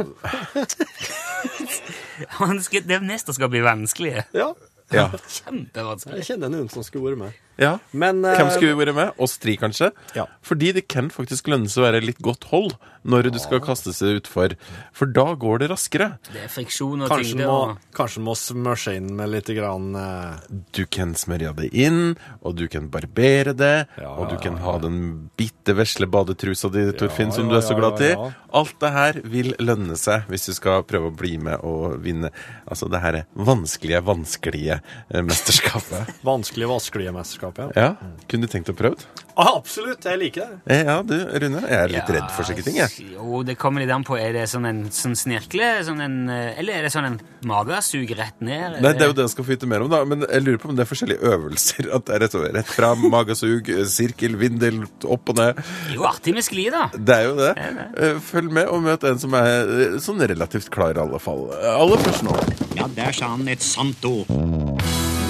Speaker 2: Han skal, det neste skal bli vanskelig.
Speaker 3: Ja.
Speaker 6: ja.
Speaker 2: Kjempevanskelig.
Speaker 3: Jeg kjenner noen som skulle vært med.
Speaker 6: ja.
Speaker 3: Men eh,
Speaker 6: Hvem skulle vært med? Oss tre, kanskje?
Speaker 3: Ja.
Speaker 6: Fordi det kan faktisk lønne seg å være litt godt hold når du skal kaste seg utfor. For da går det raskere.
Speaker 2: Det er friksjon og
Speaker 3: kanskje
Speaker 2: tyngde.
Speaker 3: må,
Speaker 2: og-
Speaker 3: kanskje må smørse inn med litt grann eh,
Speaker 6: Du kan smørja det inn, og du kan barbere det,
Speaker 3: Ja,
Speaker 6: og du
Speaker 3: ja,
Speaker 6: kan ha den bitte vesle badetrusa di, Torfinn, som
Speaker 3: ja,
Speaker 6: du er så
Speaker 3: ja,
Speaker 6: glad til.
Speaker 3: ja, ja.
Speaker 6: Alt det her vil lønne seg hvis du skal prøve å bli med og vinne. Altså det her vanskelige, vanskelige eh, mesterskapet.
Speaker 3: vanskelig vaskelige mesterskap. Ja.
Speaker 6: Ja, kunne du tenkt å prøve?
Speaker 3: Ah, absolutt, jeg liker det.
Speaker 6: Eh, Ja, du, Rune. Jeg er litt redd for slike ting, jeg.
Speaker 2: Jo, det kommer litt an på. Er det sånn en sånn snirkle? Sånn en, eh, eller er det sånn en magesug rett ned?
Speaker 6: Nei, det er jo det jeg skal få vite mer om, da. Men jeg lurer på om det er forskjellige øvelser. At det er rett, og- rett fra magesug, eh, sirkel, vindel, opp og ned.
Speaker 2: Det er jo artig med skli, da.
Speaker 6: Det er jo det. Eh, Følg med og møt en som er eh, sånn relativt klar, i alle fall. Eh, Aller først nå.
Speaker 7: Ja, der sa han et sant ord.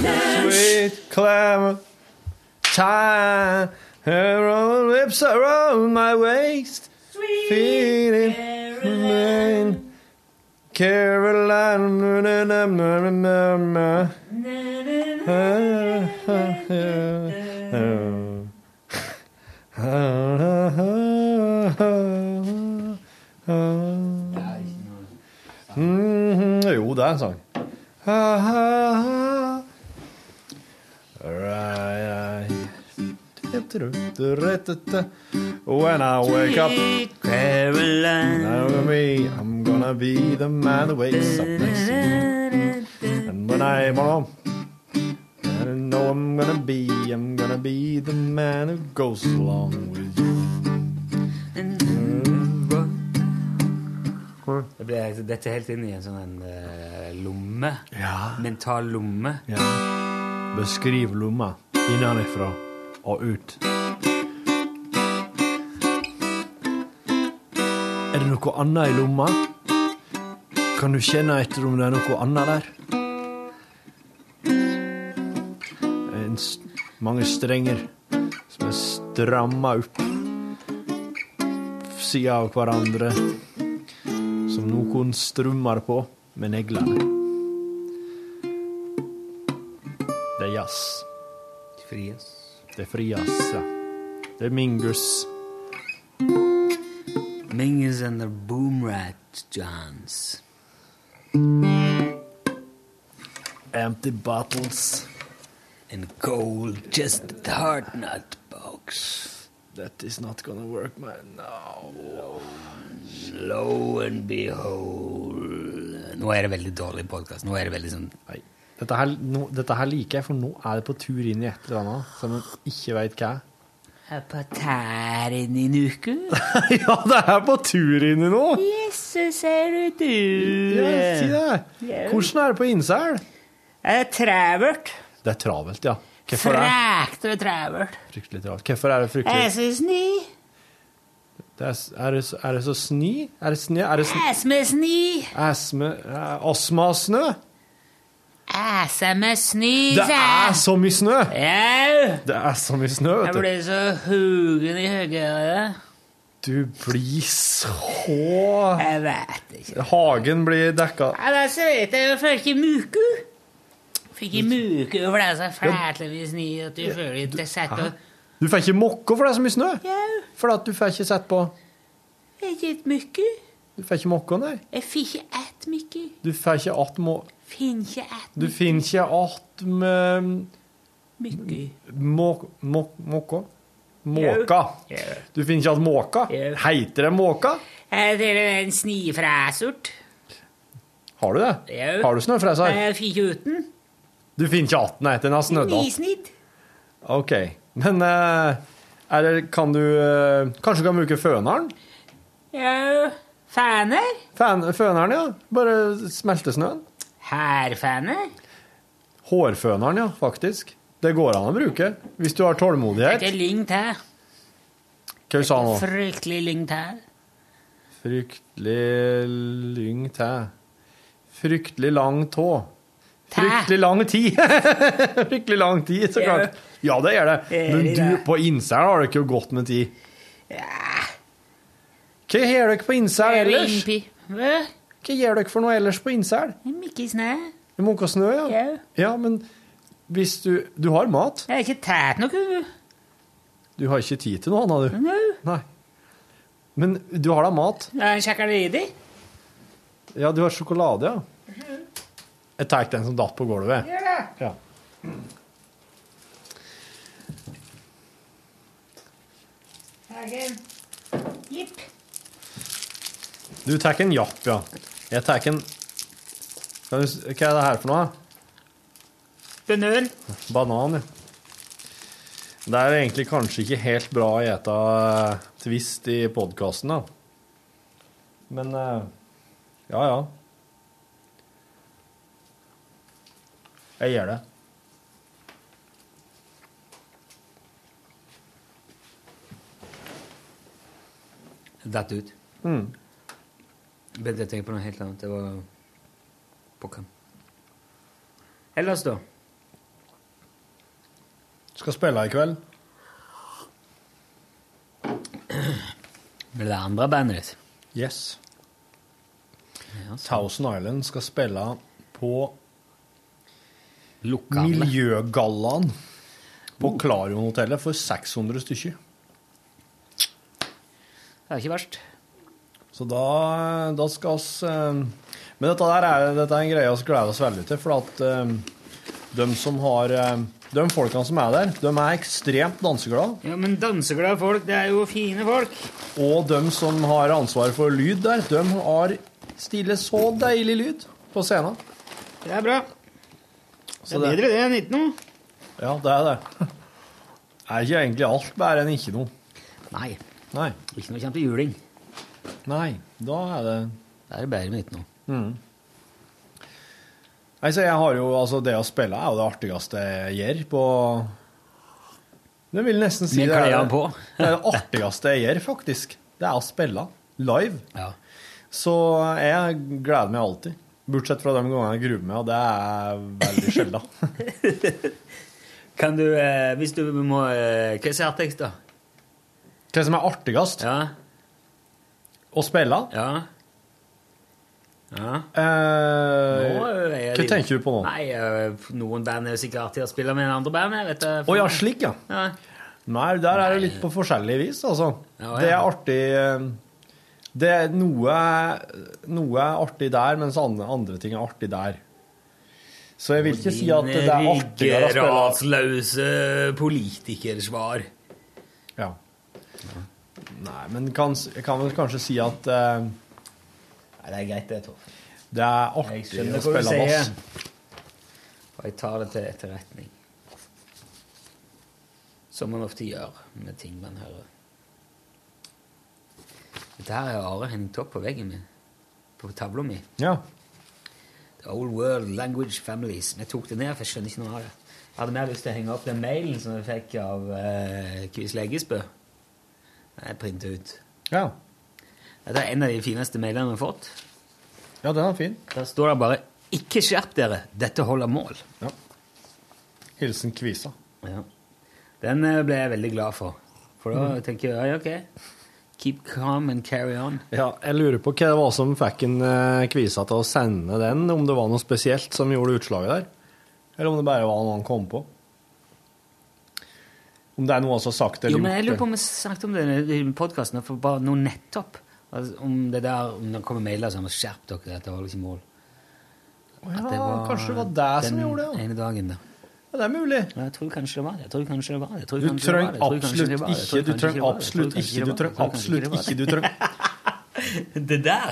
Speaker 3: Sweet clam tie her on lips around my waist Feeling plain Caroline na, na, na, na, na, na. Mhm, Jo, det er en sang. Right, right. When I wake up, know me, I'm gonna be the man who wakes up next to you. And when I'm on, I don't know I'm gonna be, I'm gonna be the man who goes along with you.
Speaker 2: Det ble, dette er helt inn i en sånn en, eh, lomme. Mental lomme.
Speaker 3: Ja. Beskriv lomma innenfra og ut. Er det noe annet i lomma? Kan du kjenne etter om det er noe annet der? En s mange strenger som er stramma opp sida av hverandre, som noen strummer på med neglene. Det er jazz. Det er fri jazz. ja. Det er mingus.
Speaker 2: Mingus and the Boomrat Johns.
Speaker 3: Empty bottles.
Speaker 2: And gold just hard nut box.
Speaker 3: That is not gonna work, man. No.
Speaker 2: Lo and behold. Nå er det veldig dårlig podkast. Nå er det veldig sånn
Speaker 3: Nei. Dette her, nå- dette her liker jeg, for nå er det på tur inn i et eller annet som en ikke veit hva er.
Speaker 2: Er på tæren i en uke?
Speaker 3: ja, det er på tur inn i noe!
Speaker 2: Jesus, er det du?
Speaker 3: Ja, si det. Hvordan er det på Innsel?
Speaker 2: Er det travelt?
Speaker 3: Det er travelt, ja. Hvorfor er
Speaker 2: Frækt og travelt.
Speaker 3: det fryktelig travelt? Hvorfor er det fryktelig
Speaker 2: så snill.
Speaker 3: det er, er, det, så- er det så sni? Er det sne? Er det sne?
Speaker 2: Ass med sni.
Speaker 3: Asme, eh, astma og snø?
Speaker 2: Ass med sni.
Speaker 3: Det er så mye snø!
Speaker 2: Au!
Speaker 3: Det er så mye snø,
Speaker 2: Jeg
Speaker 3: vet du.
Speaker 2: ble så hugen i høyere.
Speaker 3: Du blir så
Speaker 2: Jeg vet ikke.
Speaker 3: Hagen blir dekka
Speaker 2: Ja, da så vet jeg jo først i muku. Fikk i muku, for det er så fælt med sni at du føler ikke det sett og...
Speaker 3: Du får ikke mokka for det er så mye snø!
Speaker 2: Jau,
Speaker 3: For at du får ikke sett på
Speaker 2: jeg fikk et muku.
Speaker 3: Du får ikke mokka, nei.
Speaker 2: Jeg fikk ikke et muku.
Speaker 3: Du får ikke att må...
Speaker 2: Finn ikke et
Speaker 3: Du finner ikke att med
Speaker 2: muku.
Speaker 3: måk... Måk... Måka? Måka. Du finner ikke att måka?
Speaker 2: Ja.
Speaker 3: Heiter det måka?
Speaker 2: Jeg til og med en snifræsort.
Speaker 3: Har du det?
Speaker 2: Ja.
Speaker 3: Har du snøfreser?
Speaker 2: Jeg fikk jo uten.
Speaker 3: Du finner ikke att, nei, den har snødd att.
Speaker 2: Nisnitt.
Speaker 3: OK. Men eh, Eller kan du eh, Kanskje du kan bruke føneren?
Speaker 2: Jau, faner.
Speaker 3: Fan, føneren, ja. Bare smelte snøen.
Speaker 2: Herfaner.
Speaker 3: Hårføneren, ja, faktisk. Det går an å bruke hvis du har tålmodighet.
Speaker 2: Det er lyngt her.
Speaker 3: Hva sa han nå?
Speaker 2: Fryktelig lyngt her.
Speaker 3: Fryktelig lyng tæ. Fryktelig lang tå.
Speaker 2: Tæ.
Speaker 3: Fryktelig lang tid! Fryktelig lang tid, så
Speaker 2: Gjør det?
Speaker 3: klart. Ja, det gjør det.
Speaker 2: Gjør
Speaker 3: Men
Speaker 2: det
Speaker 3: du,
Speaker 2: det?
Speaker 3: på Innsel har det ikke godt med tid. Hva gjør dere på Innsel ellers?
Speaker 2: Ringpi. Hva?
Speaker 3: Hva gjør dere for noe ellers på Innsel?
Speaker 2: Mikke snø.
Speaker 3: Det Munker snø, ja?
Speaker 2: Jau.
Speaker 3: Ja, men hvis du Du har mat.
Speaker 2: Jeg har ikke tatt noe. du.
Speaker 3: Du har ikke tid til noe annet, du.
Speaker 2: Nå.
Speaker 3: Nei. Men du har da mat.
Speaker 2: Jeg har en sjokolade.
Speaker 3: Ja, du har sjokolade, ja. Jeg tar den som datt på gulvet. Ja.
Speaker 2: Jipp.
Speaker 3: Du tar en japp, ja. Jeg tar en Kan du s- Hva er det her for noe?
Speaker 2: Banan.
Speaker 3: Banan, ja. Det er egentlig kanskje ikke helt bra å ete eh, Twist i podkasten, da. Men eh, ja, ja. Jeg gjør det.
Speaker 2: Datt ut.
Speaker 3: Mm.
Speaker 2: Begynte jeg å tenke på noe helt annet. Det var pokker. Ellers, da?
Speaker 3: Skal spille i kveld.
Speaker 2: Med det andre bandet ditt?
Speaker 3: Yes.
Speaker 2: Ja,
Speaker 3: Thousand Island skal spille på
Speaker 2: Lukka alle.
Speaker 3: Miljøgallaen på
Speaker 2: Oh.
Speaker 3: Klarion-hotellet for 600 stykker.
Speaker 2: Det er ikke verst.
Speaker 3: Så da, da skal oss eh, Men dette der er, dette er en greie vi gleder oss veldig til, for at eh, De som har eh, De folkene som er der, de er ekstremt danseglade.
Speaker 2: Ja, men danseglade folk, det er jo fine folk.
Speaker 3: Og de som har ansvar for lyd der, de har stille så deilig lyd på scenen.
Speaker 2: Det er bra.
Speaker 3: Så det,
Speaker 2: det enn ikke noe.
Speaker 3: ja, det er det. Det er ikke egentlig alt bedre enn ikke noe.
Speaker 2: Nei,
Speaker 3: Nei.
Speaker 2: ikke noe kjent til juling.
Speaker 3: Nei, da er det
Speaker 2: Da er det bedre med ikke noe.
Speaker 3: Nei, så jeg har jo, altså Det å spille er jo det artigste jeg gjør på Jeg vil nesten si
Speaker 2: Med
Speaker 3: det,
Speaker 2: klærne
Speaker 3: er,
Speaker 2: på.
Speaker 3: det er det artigste jeg gjør, faktisk. Det er å spille live.
Speaker 2: Ja.
Speaker 3: Så jeg gleder meg alltid. Bortsett fra de gangene jeg gruer meg, og det er veldig sjelden.
Speaker 2: Kan du, eh, hvis du må eh, Hva er særtekst, da?
Speaker 3: Det som er artigst
Speaker 2: Ja,
Speaker 3: å spille
Speaker 2: ja. Ja.
Speaker 3: eh,
Speaker 2: Nå er jeg
Speaker 3: Hva
Speaker 2: litt-
Speaker 3: tenker du på nå?
Speaker 2: Nei, eh, noen band er jo sikkert artig å spille med enn andre band. Jeg vet det.
Speaker 3: Å ja, slik, ja.
Speaker 2: Ja.
Speaker 3: Nei, der er det litt på forskjellig vis, altså.
Speaker 2: Ja, ja.
Speaker 3: Det er artig eh, Det er noe, noe er artig der, mens andre, andre ting er artig der. Så jeg vil ikke si at det er artigere å spille
Speaker 2: Rasløse politikersvar.
Speaker 3: ja. Nei, men kans, jeg kan vel kanskje si at eh,
Speaker 2: Nei, det er greit, det, Torf.
Speaker 3: det er
Speaker 2: Jeg
Speaker 3: artig å
Speaker 2: skjønner hva du
Speaker 3: spille bass.
Speaker 2: sier. Og jeg tar det til etterretning. Som man ofte gjør med ting man hører. Dette her er Are hengt opp på veggen min. På tavla mi.
Speaker 3: Ja.
Speaker 2: The Old World Language Families. Men jeg tok det ned, for jeg skjønner ikke noe av det. Jeg hadde mer lyst til å henge opp den mailen som jeg fikk av eh, Kvis Leggesbø. Den er printa ut.
Speaker 3: ja.
Speaker 2: Dette er en av de fineste mailene vi har fått.
Speaker 3: Ja, den er fin.
Speaker 2: Der står det bare 'Ikke skjerp dere, dette holder mål'.
Speaker 3: Ja. Hilsen Kvisa.
Speaker 2: Ja. Den eh, ble jeg veldig glad for. For da tenker jeg ja, ok, keep calm and carry on.
Speaker 3: Ja, jeg lurer på hva det var som fikk en eh, kvisa til å sende den, om det var noe spesielt som gjorde utslaget der, eller om det bare var noe han kom på. Om det er noe han har sagt eller
Speaker 2: Jo, men jeg lurer
Speaker 3: gjort.
Speaker 2: på om vi snakket om det i podkasten for bare nå nettopp. Altså, om det der, om det kommer mailer som 'skjerp dere, dette holder ikke mål'.
Speaker 3: Å
Speaker 2: At
Speaker 3: Ja, kanskje det var det som
Speaker 2: den
Speaker 3: gjorde det.
Speaker 2: ene dagen, da.
Speaker 3: Ja. Ja, det er mulig.
Speaker 2: Ja, jeg tror kanskje det var det. Jeg tror kanskje det var det. Jeg tror
Speaker 3: Du
Speaker 2: kanskje det var
Speaker 3: trenger
Speaker 2: det. Jeg tror kanskje
Speaker 3: absolutt
Speaker 2: det var det. Jeg
Speaker 3: ikke,
Speaker 2: tror
Speaker 3: du trenger
Speaker 2: kanskje det var det. Jeg tror
Speaker 3: absolutt
Speaker 2: kanskje
Speaker 3: ikke,
Speaker 2: det
Speaker 3: du
Speaker 2: var det.
Speaker 3: trenger absolutt ikke, du trenger
Speaker 2: Det der,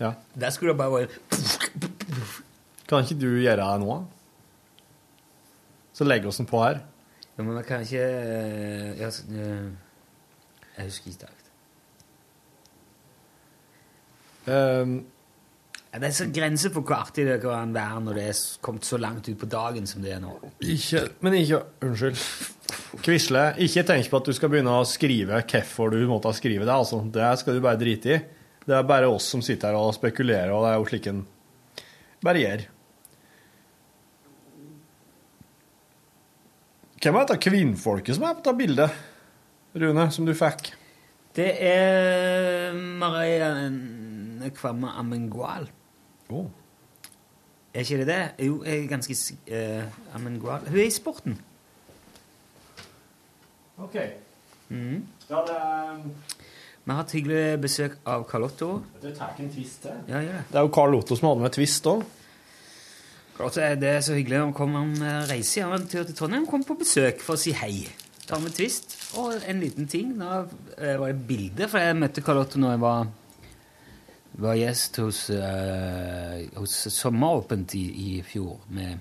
Speaker 3: Ja.
Speaker 2: der skulle det bare vært
Speaker 3: Kan ikke du gjøre det nå? da? Så legger vi den på her.
Speaker 2: Ja, men jeg kan ikke eh, Jeg, s- eh, jeg husker ikke det.
Speaker 3: Ehm,
Speaker 2: Ja, Det er så grenser for hvor artig det kan være når det er s- kommet så langt ut på dagen som det er nå.
Speaker 3: Ikke Men ikke Unnskyld. Quisle, ikke tenk på at du skal begynne å skrive hvorfor du måtte skrive det. altså. Det skal du bare drite i. Det er bare oss som sitter her og spekulerer, og det er jo slik en bare gjør. Hvem er dette kvinnfolket som er på dette bildet, Rune, som du fikk?
Speaker 2: Det er Marianne Kvamme Amengual.
Speaker 3: Oh.
Speaker 2: Er ikke det det? Jo, jeg er ganske s- eh, Amengual Hun er i sporten.
Speaker 3: OK. Ja, det,
Speaker 2: Mm.
Speaker 3: ehm,
Speaker 2: Vi har hatt hyggelig besøk av Carlotto.
Speaker 3: tar en twist til.
Speaker 2: Ja, gjør det.
Speaker 3: Det er jo Carl Otto som hadde med twist òg.
Speaker 2: Carlotto er det er så hyggelig. Han kom han eh, reiser han en tur til Trondheim, kom på besøk for å si hei. Ta med twist og en liten ting. Da eh, var det bilde, for jeg møtte Carlotto når jeg var var gjest hos, eh, hos Sommeråpent i, i fjor med,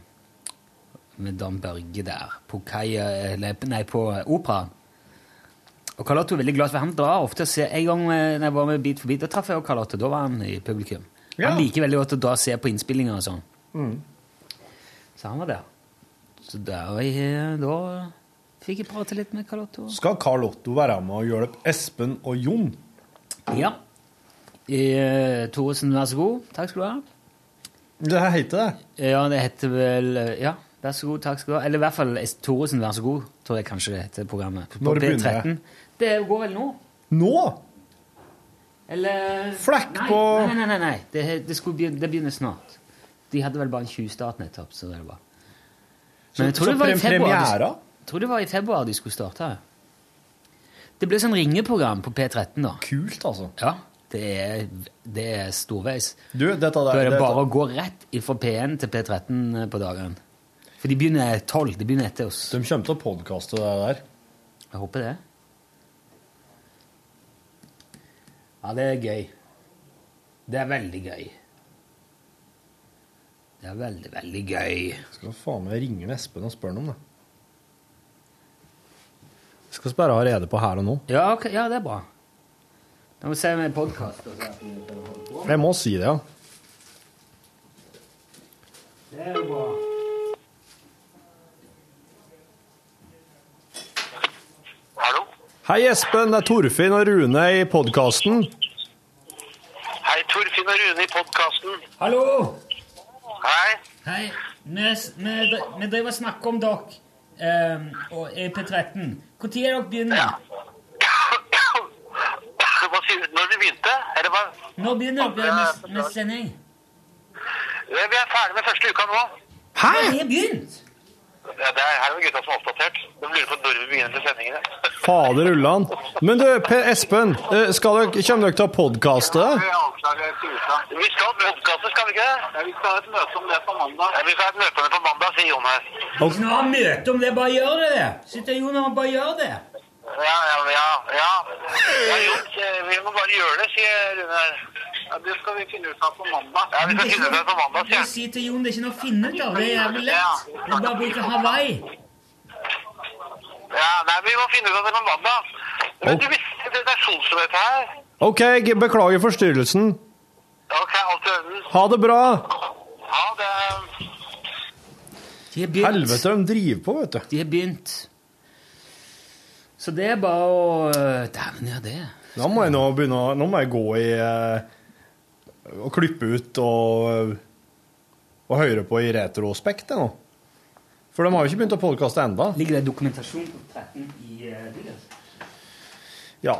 Speaker 2: med Dan Børge der på kaia eller, Nei, på operaen. Og Carlotto er veldig glad, for han drar ofte og ser En gang eh, når jeg var med Beat for beat, da traff jeg jo Carlotto. Da var han i publikum.
Speaker 3: Ja.
Speaker 2: Han liker veldig godt å dra og se på innspillinger og sånn. Så han var der. Så der, var jeg- eh, da fikk jeg prate litt med Carlotto.
Speaker 3: Skal Carl Otto være med og hjelpe Espen og Jon?
Speaker 2: Ja. Eh, Thoresen, vær så god. Takk skal du ha.
Speaker 3: Det her heter det.
Speaker 2: Ja, det heter vel Ja, vær så god, takk skal du ha. Eller i hvert fall Thoresen, vær så god, tror jeg kanskje det heter programmet. På
Speaker 3: Når
Speaker 2: P13.
Speaker 3: begynner det?
Speaker 2: Det går vel nå?
Speaker 3: Nå?
Speaker 2: Eller
Speaker 3: Flekk
Speaker 2: nei,
Speaker 3: på-
Speaker 2: Nei, nei, nei. nei. Det, det, skulle begynne, det begynner snart. De hadde vel bare en tjuvstart nettopp, så det var Men jeg tror det var i februar de-
Speaker 3: premiera?
Speaker 2: jeg tror det var i februar de skulle starte. Det ble sånn ringeprogram på P13, da.
Speaker 3: Kult, altså.
Speaker 2: Ja, det er, det er storveis.
Speaker 3: Du, dette der,
Speaker 2: Da er det
Speaker 3: dette-
Speaker 2: bare å gå rett fra P1 til P13 på dagen. For de begynner tolv. De begynner etter oss.
Speaker 3: De kommer til å podkaste det der.
Speaker 2: Jeg håper det. Ja, det er gøy. Det er veldig gøy. Det er veldig, veldig gøy.
Speaker 3: Skal faen meg ringe Espen og spørre ham om det. Jeg skal bare ha rede på her og nå.
Speaker 2: Ja, ok, ja det er bra. Da må vi se med podkast.
Speaker 3: Jeg må si det, ja.
Speaker 2: Det er jo bra.
Speaker 8: Hallo?
Speaker 3: Hei, Espen. Det er Torfinn og Rune i podkasten.
Speaker 8: Hei, Torfinn og Rune i podkasten.
Speaker 2: Hallo!
Speaker 8: Hei.
Speaker 2: Hei. Vi, vi, vi driver og snakker om dere ehm, og er på 13. Når er dere begynner?
Speaker 8: Hva sier du? Når vi begynte? Eller hva?
Speaker 2: Når begynner dere med, med sending?
Speaker 8: Ja, Vi er ferdig med første uka nå.
Speaker 2: Hæ? Vi har begynt!
Speaker 8: Ja, det er her er gutta som er oppdatert. De lurer på når vi begynner med sendingene.
Speaker 3: Fader ullan. Men du, Per Espen, eh, skal dere, kommer dere til å podkaste det?
Speaker 8: Vi skal ha podkaster, skal vi ikke det? Ja, vi skal ha et møte om det på mandag. Ja, vi skal ha et møte om det på mandag, sier Jon her.
Speaker 2: Nå har møte om det, bare gjør det! det. Sitter Jon og bare gjør det.
Speaker 8: Ja, ja, ja. ja. ja Jon, eh, vi må bare gjøre det, sier Rune her. Ja, det skal vi finne ut av på mandag. Ja, vi skal finne ut av det på mandag, sier
Speaker 2: Du
Speaker 8: han.
Speaker 2: sier til Jon det er ikke noe å finne ut av, det er jævlig lett. Du bare bruker Hawaii.
Speaker 8: Ja, nei, vi må finne ut av det på mandag. Men du visste det er solsmøte her.
Speaker 3: OK, g- beklager forstyrrelsen.
Speaker 8: Ok, alt i orden.
Speaker 3: Ha det bra.
Speaker 8: Ha det.
Speaker 2: De har begynt.
Speaker 3: Helvete, de driver på, vet du.
Speaker 2: De har begynt. Så det er bare å eh, Dæven, ja, det.
Speaker 3: Da må jeg nå begynne å Nå må jeg gå i eh, og klippe ut og, og høre på i retrospekt, jeg nå. For de har jo ikke begynt å podkaste enda.
Speaker 2: Ligger det dokumentasjon på 13 i uh, Diggers?
Speaker 3: Ja,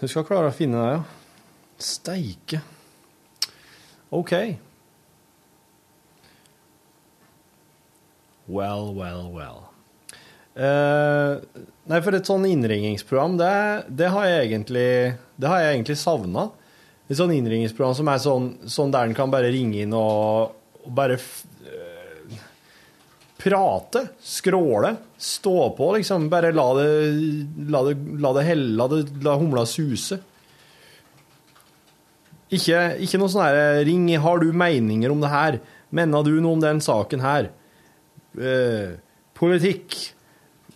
Speaker 3: du skal klare å finne det, ja. Steike. OK. Well, well, well. Eh, nei, for et sånn innringingsprogram, det, det har jeg egentlig, det har jeg egentlig savna. Et sånn innringingsprogram som er sånn, sånn der en kan bare ringe inn og, og bare f eh, prate, skråle, stå på, liksom. Bare la det, la det, la det helle, la, det, la humla suse. Ikke, ikke noe sånn her Ring, har du meninger om det her? Mener du noe om den saken her? Eh, politikk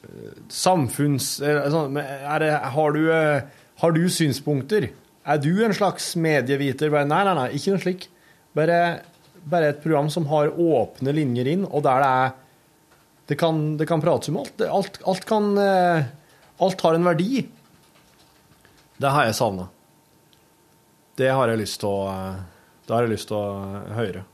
Speaker 3: eh, Samfunns... eh, sånn, men Er det, har, du, eh, har du synspunkter? Er du en slags medieviter? Bare, nei, nei, nei, ikke noe slik. Bare, bare et program som har åpne linjer inn, og der det er Det kan, det kan prates om alt. Det- Alt, alt kan eh, Alt har en verdi. Det har jeg savna. Det har jeg lyst til å eh, Det har jeg lyst til å eh, høre.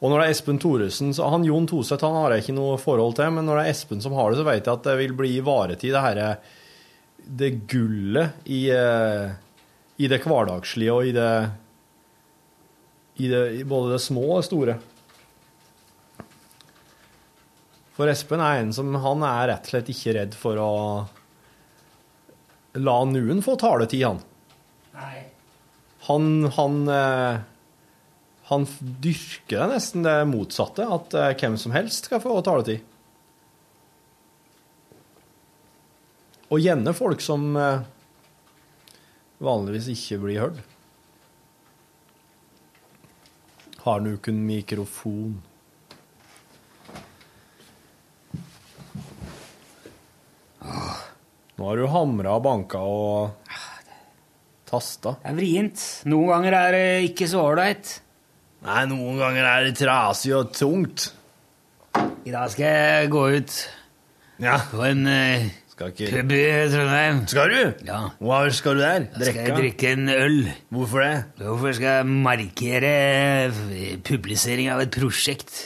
Speaker 3: Og når det er Espen Thoresen så Han Jon Toseth han har jeg ikke noe forhold til, men når det er Espen som har det, så vet jeg at det vil bli ivaretatt, det herre Det gullet i, eh, i det hverdagslige og i det i, det, I både det små og det store. For Espen er en som Han er rett og slett ikke redd for å la noen få taletid, han.
Speaker 2: Nei.
Speaker 3: Han, han, eh, han f- dyrker det nesten det motsatte, at eh, hvem som helst skal få taletid. Og gjerne folk som eh, vanligvis ikke blir hørt. Har du ikke en mikrofon? Nå har du hamra og banka og tasta.
Speaker 2: Det er vrient. Noen ganger er det ikke så ålreit.
Speaker 3: Nei, noen ganger er det trasig og tungt.
Speaker 2: I dag skal jeg gå ut
Speaker 3: Ja,
Speaker 2: på en eh,
Speaker 3: skal ikke
Speaker 2: pub i Trondheim.
Speaker 3: Skal du?
Speaker 2: Ja.
Speaker 3: Hva skal du der?
Speaker 2: Da skal jeg drikke en øl.
Speaker 3: Hvorfor det?
Speaker 2: Hvorfor skal jeg markere publisering av et prosjekt?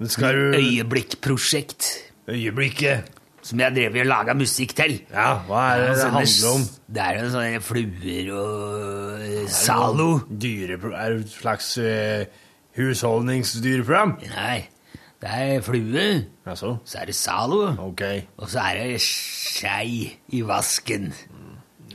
Speaker 3: Men skal du
Speaker 2: Øyeblikkprosjekt
Speaker 3: Øyeblikket.
Speaker 2: som jeg drev og laga musikk til.
Speaker 3: Ja, hva er det det
Speaker 2: Sånne
Speaker 3: handler om?
Speaker 2: s- Det er jo sånne fluer og eh, Zalo.
Speaker 3: Dyrepro... Er det et slags eh, husholdningsdyreprogram?
Speaker 2: Nei, det er flue,
Speaker 3: Jaså?
Speaker 2: så er det Zalo,
Speaker 3: Ok.
Speaker 2: og så er det skei i vasken.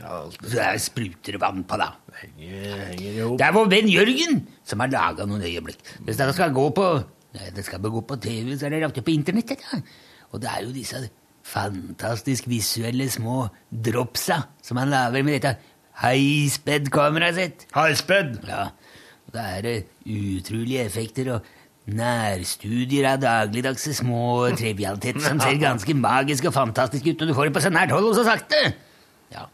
Speaker 3: Ja, alt
Speaker 2: Så er det spruter vann på, da.
Speaker 3: henger, henger i hop.
Speaker 2: Det er vår venn Jørgen som har laga noen øyeblikk. Hvis dere skal gå på Nei, det skal bare gå på TV, så er det lagt ut på internettet. da. Og det er jo disse fantastisk visuelle små dropsa som han lager med dette highsped-kameraet sitt.
Speaker 3: Highsped.
Speaker 2: Ja, og det er eh, utrolige effekter og nærstudier av dagligdagse små trivialiteter som ser ganske magiske og fantastiske ut, og du får det på så nært hold og så sakte. Ja.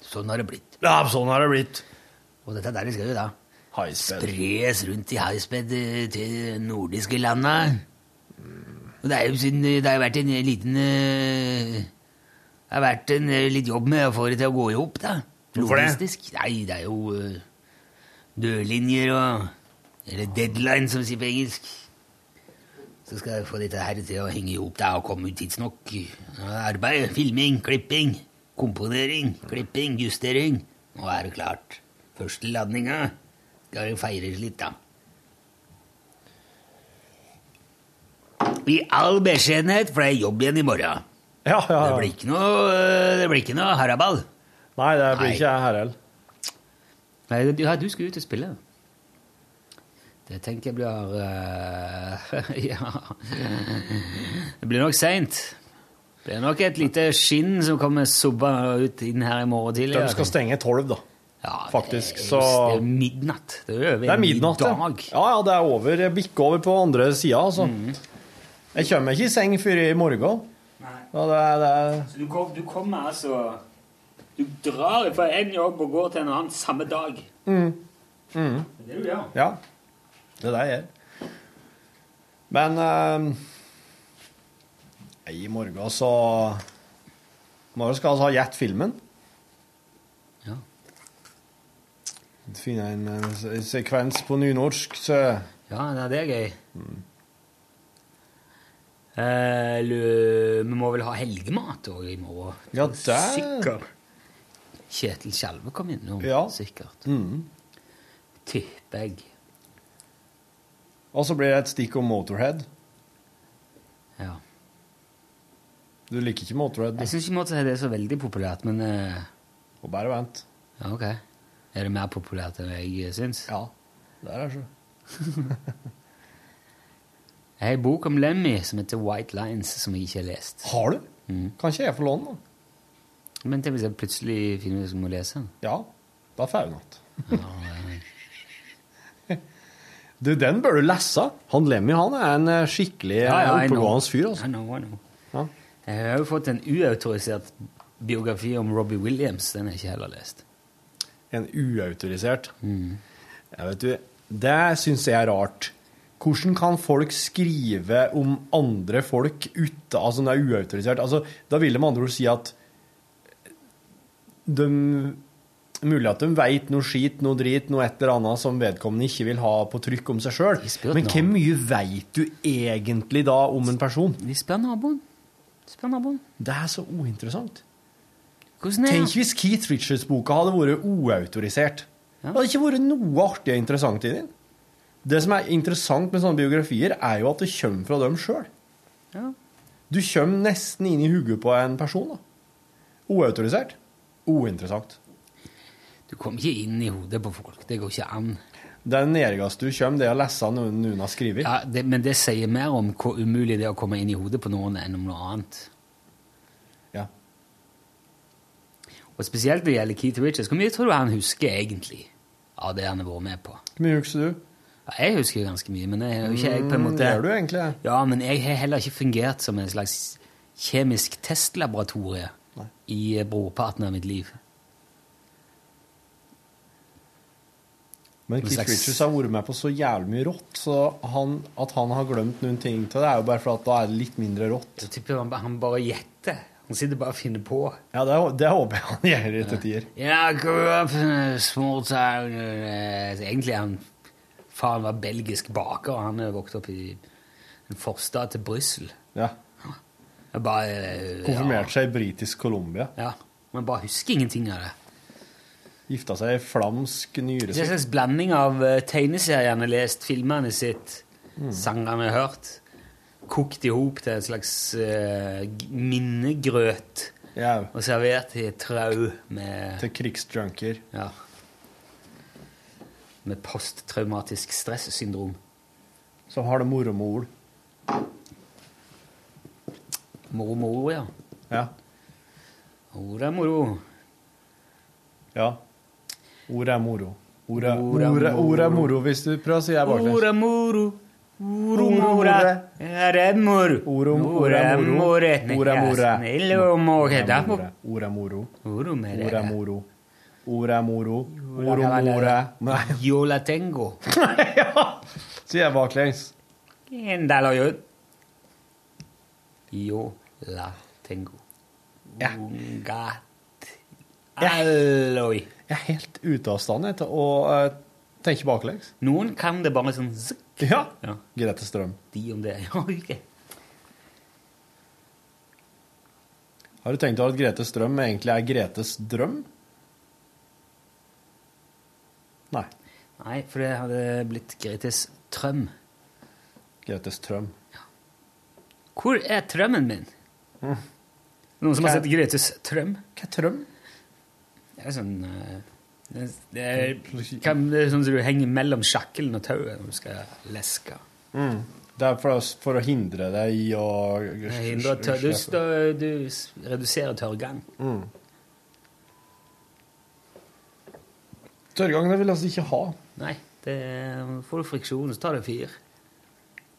Speaker 2: Sånn har det blitt.
Speaker 3: Ja, sånn har det blitt.
Speaker 2: Og dette der skal jo da
Speaker 3: Highsped.
Speaker 2: spres rundt i highsped eh, til nordiske landa. Og det er jo siden eh, det har vært en eh, liten eh, Det har vært en eh, litt jobb med å få det til å gå i hop, da.
Speaker 3: Hvorfor det?
Speaker 2: Logistisk. Nei, det er jo eh, dørlinjer og Eller deadline, som vi sier på engelsk. Så skal jeg få dette her til å henge i hop da, og komme ut tidsnok. Ja, Arbeid, filming, klipping, komponering, klipping, justering. Nå er det klart. Første ladninga skal jo feires litt, da. I all beskjedenhet, for det er jobb igjen i morgen.
Speaker 3: Ja, ja,
Speaker 2: Det blir
Speaker 3: ja.
Speaker 2: ikke noe, øh, det blir ikke noe haraball.
Speaker 3: Nei, det blir
Speaker 2: Nei.
Speaker 3: ikke jeg her heller.
Speaker 2: Nei, du, ja, du skal ut og spille. Det tenker jeg blir øh, Ja. Det blir nok seint. Det blir nok et lite skinn som kommer subba ut inn her i morgen tidlig. altså.
Speaker 3: Du skal stenge tolv, da.
Speaker 2: Ja, det
Speaker 3: faktisk,
Speaker 2: er-
Speaker 3: så-
Speaker 2: Det er midnatt. Det er, over
Speaker 3: Det er midnatt,
Speaker 2: ja.
Speaker 3: ja. Ja, ja, det er over. Jeg bikker over på andre sida, altså.
Speaker 2: Mm.
Speaker 3: Jeg kommer ikke i seng før i morgen. Ja, det er, det er
Speaker 9: Du, kom, du kommer altså Du drar fra en jobb og går til en annen samme dag.
Speaker 3: Mm.
Speaker 9: Det er det du gjør.
Speaker 3: Ja. Det er det jeg gjør. Men eh, nei, i morgen så I morgen skal vi ha gjett filmen.
Speaker 2: Ja.
Speaker 3: Finne en eh, sekvens på nynorsk, så
Speaker 2: Ja, nei, det er gøy.
Speaker 3: Mm.
Speaker 2: Eh, lu- vi må vel ha helgemat òg i morgen?
Speaker 3: Ja, det-
Speaker 2: Sikkert. Kjetil Skjelve kom innom,
Speaker 3: Ja.
Speaker 2: sikkert.
Speaker 3: Mhm.
Speaker 2: Tipper jeg.
Speaker 3: Og så blir det et stikk om Motorhead.
Speaker 2: Ja.
Speaker 3: Du liker ikke Motorhead,
Speaker 2: Jeg
Speaker 3: du.
Speaker 2: syns ikke måtte si det er så veldig populært, men eh,
Speaker 3: Og bare vent.
Speaker 2: ja, ok. Er det mer populært enn jeg eh, syns?
Speaker 3: Ja. Der altså. er så.
Speaker 2: Jeg har en bok om Lemmy som heter White Lines, som jeg ikke har lest.
Speaker 3: Har du? Kan ikke jeg få låne den? da?
Speaker 2: Men tenk hvis jeg plutselig finner ut at jeg må lese den.
Speaker 3: Ja. Da får jeg den igjen. Du, den bør du lese. Han Lemmy han er en eh, skikkelig ja,
Speaker 2: I know.
Speaker 3: oppegående fyr. altså.
Speaker 2: I know, I know.
Speaker 3: Ja.
Speaker 2: Jeg har jo fått en uautorisert biografi om Robbie Williams. Den har jeg ikke heller lest.
Speaker 3: En uautorisert. Ja, vet du, det syns jeg er rart. Hvordan kan folk skrive om andre folk uten Altså, det er uautorisert. Altså, da vil de med andre ord si at de Mulig at de veit noe skit, noe drit, noe et eller annet som vedkommende ikke vil ha på trykk om seg sjøl.
Speaker 2: De spør
Speaker 3: Men
Speaker 2: noe.
Speaker 3: hvor mye veit du egentlig da om en person?
Speaker 2: Vi spør naboen. Spør naboen.
Speaker 3: Det er så uinteressant.
Speaker 2: Hvordan er
Speaker 3: Tenk
Speaker 2: han?
Speaker 3: hvis Keith Richards-boka hadde vært uautorisert. Det hadde ikke vært noe artig og interessant i den. Det som er interessant med sånne biografier, er jo at det kommer fra dem sjøl.
Speaker 2: Ja.
Speaker 3: Du kommer nesten inn i hodet på en person. da. Uautorisert. Uinteressant.
Speaker 2: Du kommer ikke inn i hodet på folk. Det går ikke an.
Speaker 3: Den nærmeste du kommer, det er å lese noe noen har skrevet.
Speaker 2: Ja, det, men det sier mer om hvor umulig det er å komme inn i hodet på noen enn om noe annet.
Speaker 3: Ja.
Speaker 2: Og spesielt når det gjelder Keith Richards. Hvor mye tror du han husker egentlig av det han har vært med på?
Speaker 3: Hvor mye husker du?
Speaker 2: Ja, jeg husker jo ganske mye, men jeg er jo ikke jeg på en måte
Speaker 3: Gjør du egentlig Mm, det?
Speaker 2: Ja, men jeg har heller ikke fungert som en slags kjemisk testlaboratorie i eh, brorparten av mitt liv.
Speaker 3: Men Keith
Speaker 2: slags-
Speaker 3: Richards har vært med på så jævlig mye rått, så han, at han har glemt noen ting til det, er jo bare for at da er det litt mindre rått.
Speaker 2: Så tipper jeg han, han bare gjetter. Han sitter bare og finner på.
Speaker 3: Ja, det, det håper jeg han gjør i tider.
Speaker 2: Ja, eh, I grew up in a small town eh, så Egentlig er han Faren var belgisk baker, og han eh, vokste opp i en forstad til Brussel.
Speaker 3: Ja.
Speaker 2: Jeg Bare eh,
Speaker 3: Konfirmerte seg i britisk Colombia.
Speaker 2: Ja, ja. Men bare husker ingenting av det.
Speaker 3: Gifta seg i flamsk
Speaker 2: Det er en
Speaker 3: nyresvikt.
Speaker 2: slags blanding av eh, tegneseriene lest, filmene sitt, sangene hørt, kokt i hop til en slags eh, g- minnegrøt
Speaker 3: Ja,
Speaker 2: og servert i et trau med
Speaker 3: til krigsjunkier.
Speaker 2: ja. med posttraumatisk stressyndrom.
Speaker 3: Som har det moro med ord.
Speaker 2: Moro, moro, ja.
Speaker 3: Ja.
Speaker 2: Ord er moro.
Speaker 3: ja. Ord er moro. Ord er,
Speaker 2: Ord er
Speaker 3: ord er, ord er
Speaker 2: moro.
Speaker 3: moro, hvis du prøver å si jeg baklengs.
Speaker 2: Ord er moro. Oro,
Speaker 3: Ord er
Speaker 2: mora. Her er mor.
Speaker 3: Oro,
Speaker 2: Ord er
Speaker 3: oro,
Speaker 2: more.
Speaker 3: oro er more.
Speaker 2: Snill og more. Da må-
Speaker 3: Ord er moro.
Speaker 2: Oro mere.
Speaker 3: Ord er moro. Ord er moro.
Speaker 2: Ora
Speaker 3: Oro
Speaker 2: cavalera.
Speaker 3: more. Nei,
Speaker 2: Yo la tengo.
Speaker 3: sier jeg baklengs.
Speaker 2: Enda la yo. Yo la tengo. Eh.
Speaker 3: Ja.
Speaker 2: Ungat. Eh. Alloi.
Speaker 3: Jeg er helt ute av stand jeg, til å eh, tenke baklengs.
Speaker 2: Noen kan det bare sånn zikk,
Speaker 3: Ja.
Speaker 2: Ja.
Speaker 3: Grete Strøm.
Speaker 2: de om det. Ja, ok.
Speaker 3: Har du tenkt over at Grete Strøm egentlig er Gretes drøm? Nei.
Speaker 2: Nei, for det hadde blitt Gretes trøm.
Speaker 3: Gretes Trøm.
Speaker 2: Hvor er trømmen min? Mm. Noen som har sett Gretes trøm?
Speaker 3: Hva er Trøm?
Speaker 2: Det er sånn eh, det, det, er, kan, det er sånn som du henger mellom sjakkelen og tauet når du skal leske.
Speaker 3: Det er for, å- for å hindre deg i å
Speaker 2: Det hindrer tørr- Du, stå- du s- reduserer tørrgang.
Speaker 3: Tørrgang det vil altså ikke ha.
Speaker 2: Nei, det er- får du friksjon, så tar det fyr.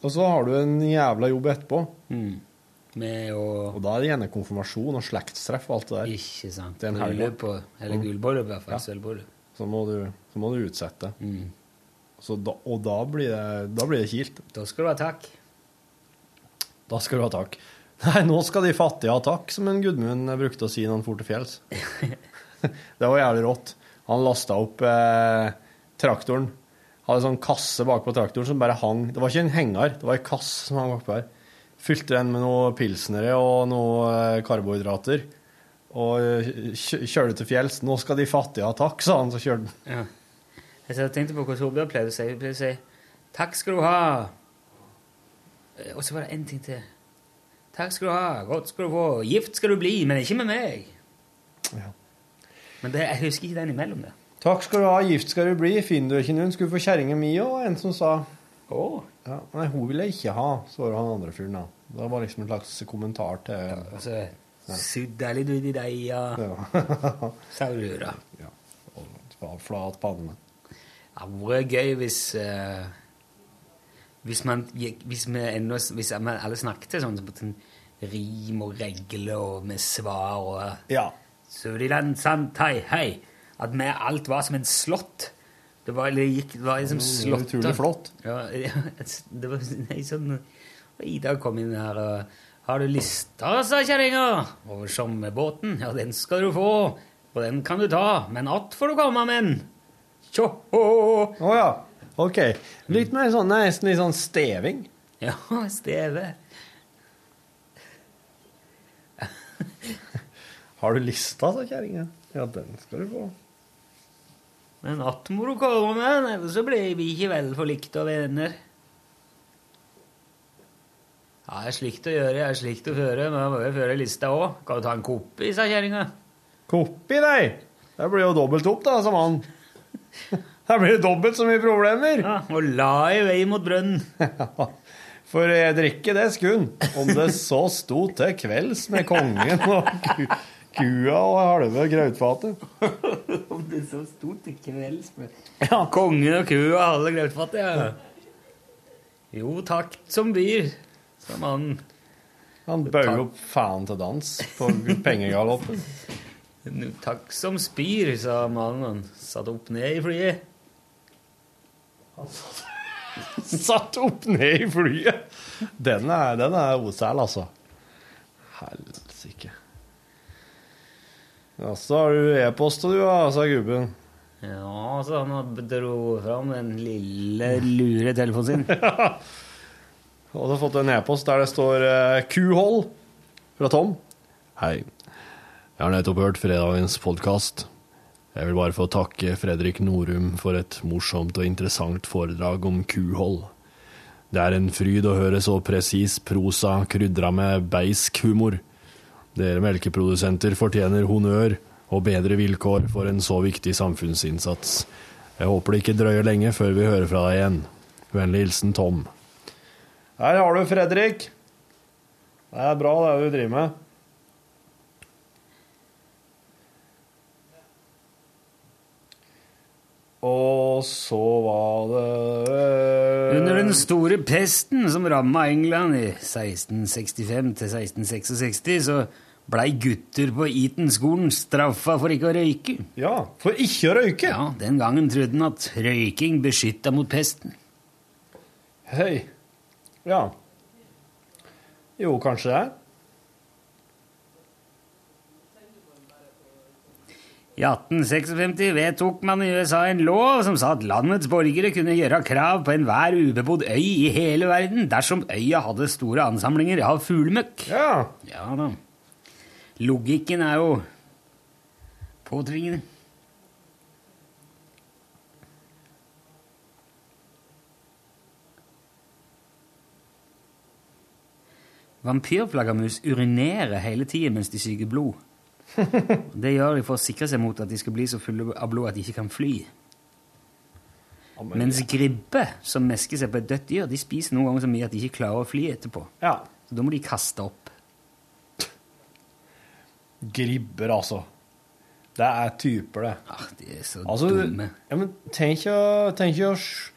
Speaker 3: Og så har du en jævla jobb etterpå.
Speaker 2: Mm. Med å
Speaker 3: Og da er det gjerne konfirmasjon og slektstreff og alt det der. Mm.
Speaker 2: Ikke sant.
Speaker 3: Det er en helg, da.
Speaker 2: Bryllup og- Eller gullbryllup, i hvert fall. Sølvbryllup.
Speaker 3: Så må du, så må du utsette.
Speaker 2: Mm.
Speaker 3: Så da, og da blir, det, da blir det kilt.
Speaker 2: Da skal du ha takk.
Speaker 3: Da skal du ha takk. Nei, nå skal de fattige ha takk, som en Gudmund brukte å si når han for til fjells. det var jævlig rått. Han lasta opp eh, traktoren. Hadde en sånn kasse bakpå traktoren som bare hang. Det var ikke en henger, det var ei kasse som hang bakpå her. Fylte den med noe pilsnere og noe eh, karbohydrater. Og eh, kjø- kjørte til fjells. 'Nå skal de fattige ha takk', sa han. Så kjørte han.
Speaker 2: Ja. Jeg satt og tenkte på hva Torbjørn pleide å si. Hun pleide å si 'Takk skal du ha'. Eh, Og så var det en ting til. 'Takk skal du ha, godt skal du få, gift skal du bli, men ikke med meg'.
Speaker 3: Ja.
Speaker 2: Men det, jeg husker ikke den imellom der.
Speaker 3: 'Takk skal du ha, gift skal du bli, finner du ikke noen, skulle få kjerringa mi òg', en som sa.
Speaker 2: Oh.
Speaker 3: Ja, nei, hun ville jeg ikke ha, svarer han andre fyren da. Det var liksom en slags kommentar til
Speaker 2: Og så sudda Altså, litt ut i deg, ja.
Speaker 3: Ja.
Speaker 2: Sa du da.
Speaker 3: ja. Og det var flat panne.
Speaker 2: Det hadde vært gøy hvis eh, Hvis man gikk- Hvis vi ennå Hvis man alle snakket sånn på sånn rim og regle og med svar og
Speaker 3: Ja.
Speaker 2: Suriland, sant, hei, hei. At med alt var som en slott. Det var, det gikk, det var liksom
Speaker 3: Det var
Speaker 2: slott.
Speaker 3: Mm, utrolig flott.
Speaker 2: Ja, ja, det var nei, sånn... og Ida kom inn her og Har du lista, sa kjerringa, over sommerbåten? Ja, den skal du få, og den kan du ta, men att får du komme med den. Tjå!
Speaker 3: Å ja, ok. Litt mer sånn, nesten litt sånn steving.
Speaker 2: Ja, Steve.
Speaker 3: Har du lista, sa kjerringa. Ja, den skal du få.
Speaker 2: Men att må du komme med, ellers så blir vi ikke vel forlikt av venner. Ja, det er slikt å gjøre, det er slikt å føre, men jeg må jo føre lista òg. Kan du ta en kopi, sa kjerringa.
Speaker 3: Kopp i deg! Det blir jo dobbelt opp, da, som han. Her blir det dobbelt så mye problemer.
Speaker 2: Ja, og la i vei mot brønnen.
Speaker 3: For jeg drikker det skun, om det så sto til kvelds med kongen og ku, kua og halve grautfatet.
Speaker 2: Om det så sto til kvelds med Kongen og kua og alle grøtfattige. Ja. Jo, takt som byr, sa mannen.
Speaker 3: Han bøyer opp faen til dans på pengegaloppen.
Speaker 2: «Nu, Takk som spyr, sa mannen. Satt opp ned i flyet.
Speaker 3: Satt opp ned i flyet! Den er, den er osæl, altså. Helsike. Ja, så har du e-posta, du, da, sa gubben.
Speaker 2: Ja, så han dro fram den lille, lure telefonen sin.
Speaker 3: Og så har jeg fått en e-post der det står eh, Kuhold fra Tom. Hei. Jeg har nettopp hørt fredagens podkast. Jeg vil bare få takke Fredrik Norum for et morsomt og interessant foredrag om kuhold. Det er en fryd å høre så presis prosa krydra med beisk humor. Dere melkeprodusenter fortjener honnør og bedre vilkår for en så viktig samfunnsinnsats.
Speaker 10: Jeg håper det ikke drøyer lenge før vi hører fra deg igjen. Vennlig hilsen Tom.
Speaker 3: Her har du Fredrik. Det er bra, det du driver med. Og så var det
Speaker 2: Under den store pesten som ramma England i 1665 til 1666, så blei gutter på Eton-skolen straffa for ikke å røyke.
Speaker 3: Ja, for ikke å røyke.
Speaker 2: Ja, Den gangen trodde en at røyking beskytta mot pesten.
Speaker 3: Hei. Ja. Jo, kanskje det.
Speaker 2: I 1856 vedtok man i USA en lov som sa at landets borgere kunne gjøre krav på enhver ubebodd øy i hele verden dersom øya hadde store ansamlinger av fuglemøkk.
Speaker 3: Ja.
Speaker 2: Ja da. Logikken er jo påtvingende. Vampyrflaggermus urinerer hele tiden mens de suger blod. Det gjør de for å sikre seg mot at de skal bli så fulle av blod at de ikke kan fly. Mens gribber som mesker seg på et dødt dyr, de spiser noen ganger så mye at de ikke klarer å fly etterpå.
Speaker 3: ja.
Speaker 2: Så da må de kaste opp.
Speaker 3: Gribber, altså. Det er typer, det.
Speaker 2: Ah, de er så
Speaker 3: Altså,
Speaker 2: dumme.
Speaker 3: ja, men tenk å, tenk å s-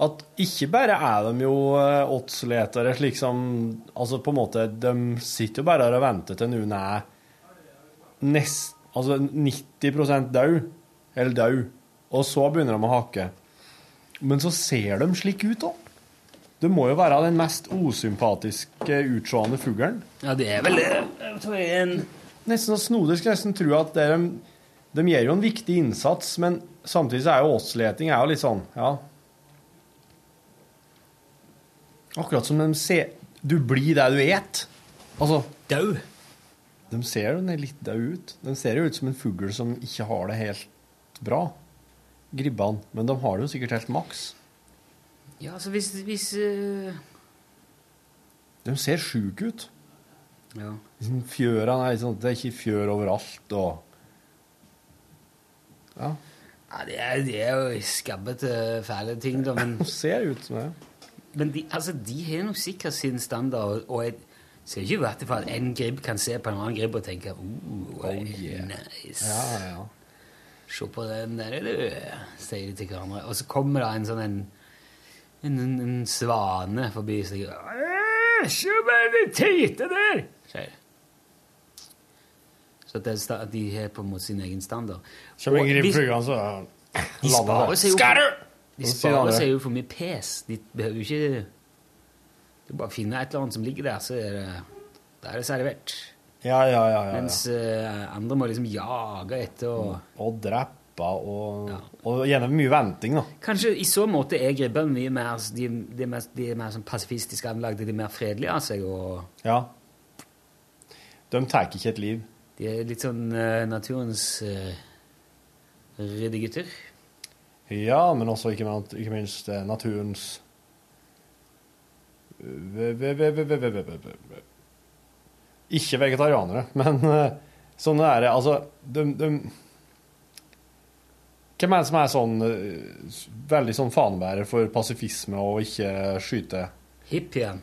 Speaker 3: at ikke bare er de jo eh, oddsletere, slik som Altså, på en måte, de sitter jo bare der og venter til noen er nest, altså 90 død, eller død, og så begynner de å hakke. Men så ser de slik ut, da. Det må jo være den mest usympatiske utseende fuglen.
Speaker 2: Ja, det er vel det. Jeg tror jeg er en...
Speaker 3: Nesten så snodig skal jeg nesten tro at det er de, de gjør jo en viktig innsats, men samtidig så er jo åtsleting er jo litt sånn, ja. Akkurat som de ser Du blir det du et. Altså
Speaker 2: Dau.
Speaker 3: De ser jo ned litt daud ut. De ser jo ut som en fugl som ikke har det helt bra. Gribbene. Men de har det jo sikkert helt maks.
Speaker 2: Ja, altså hvis, hvis eh,
Speaker 3: De ser sjuke ut.
Speaker 2: Ja.
Speaker 3: Liksom Fjøra er litt sånn Det er ikke fjør overalt og Ja.
Speaker 2: ja det, er, det er jo skabbete, fæle ting, da. Men,
Speaker 3: De ser ut som det.
Speaker 2: men de, altså, de har nok sikkert sin standard. og- Og jeg ser ikke vært for at en gribb kan se på en annen gribb og tenke oh, nice.
Speaker 3: Ja, ja.
Speaker 2: Se på den der, du, sier de til hverandre. Og så kommer det en sånn en, en, en, en svane forbi og sier «Æ, Se bare de teite der! sier de. Så at det er sta- at de har på en måte sin egen standard.
Speaker 3: Kjem
Speaker 2: Og
Speaker 3: en altså. gribb
Speaker 2: hvis-
Speaker 3: flygende, så
Speaker 2: de sparer seg jo De
Speaker 3: Så sier han
Speaker 2: sparer
Speaker 3: det.
Speaker 2: seg jo for mye pes. De behøver jo ikke Det er bare å finne et eller annet som ligger der, så er det, da er det servert.
Speaker 3: Ja, ja, ja. ja,
Speaker 2: Mens
Speaker 3: ja.
Speaker 2: eh, andre må liksom jage etter og
Speaker 3: Og drepe og
Speaker 2: Ja.
Speaker 3: Og gjerne mye venting, da.
Speaker 2: Kanskje i så måte er gribber mye mer De, de er mer, de er mer sånn pasifistiske anlagde, de er mer fredelige av seg, og
Speaker 3: Ja. De tar ikke et liv.
Speaker 2: de er litt sånn eh, naturens uh, ryddige gutter.
Speaker 3: Ja, men også ikke, men- ikke minst eh, naturens Ve- ve- ve- ve- ve- ve- ve- ve- ve- ve- Ikke vegetarianere, men eh, sånne er det. Altså, de, de Hvem er det som er sånn eh, s- veldig sånn fanebærer for pasifisme og ikke skyte?
Speaker 2: Hippien.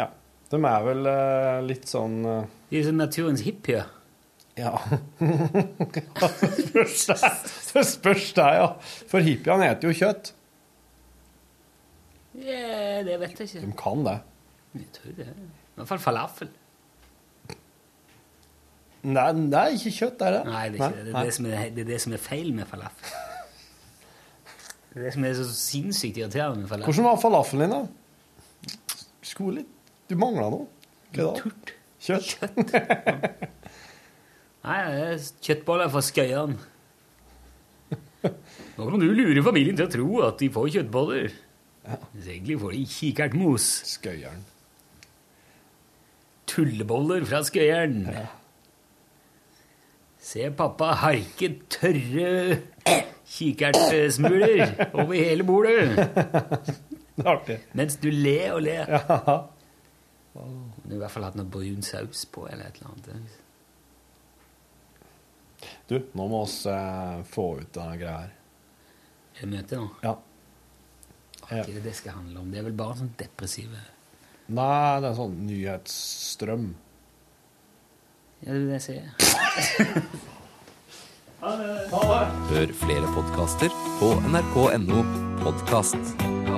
Speaker 3: Ja. De er vel eh, litt sånn eh,
Speaker 2: De er sånn naturens hippier.
Speaker 3: Ja. det spørs deg, det spørs deg, ja. For hippiene eter jo kjøtt.
Speaker 2: Yeah, det vet jeg
Speaker 3: De
Speaker 2: ikke.
Speaker 3: kan det.
Speaker 2: Jeg tror det. I hvert fall falafel.
Speaker 3: Nei, det er ikke kjøtt, er det?
Speaker 2: Nei, det er ikke det. Det er det, som er, det er det som er feil med falafel. Det er det som er så sinnssykt irriterende med falafel.
Speaker 3: Hvordan var falafelen din, da? Skulle litt Du mangla noe. Hva da?
Speaker 2: Turt.
Speaker 3: Kjøtt?
Speaker 2: Nei, det er kjøttboller fra Skøyeren. Nå kan du lure familien til å tro at de får kjøttboller. Men Egentlig får de kikertmos.
Speaker 3: Skøyeren.
Speaker 2: Tulleboller fra Skøyeren. Se pappa harke tørre kikertsmuler over hele bordet.
Speaker 3: Det er Artig.
Speaker 2: Mens du ler og ler.
Speaker 3: Ja.
Speaker 2: Du har i hvert fall hatt noe brun saus på eller et eller annet.
Speaker 3: Du, nå må oss eh, få ut denne greia her.
Speaker 2: Er det møte nå?
Speaker 3: Ja.
Speaker 2: Hva er det det skal handle om? Det er vel bare sånn depressive
Speaker 3: Nei, det er en sånn nyhetsstrøm.
Speaker 2: Ja, det er det jeg sier.
Speaker 11: Hør flere podkaster på nrk.no podkast.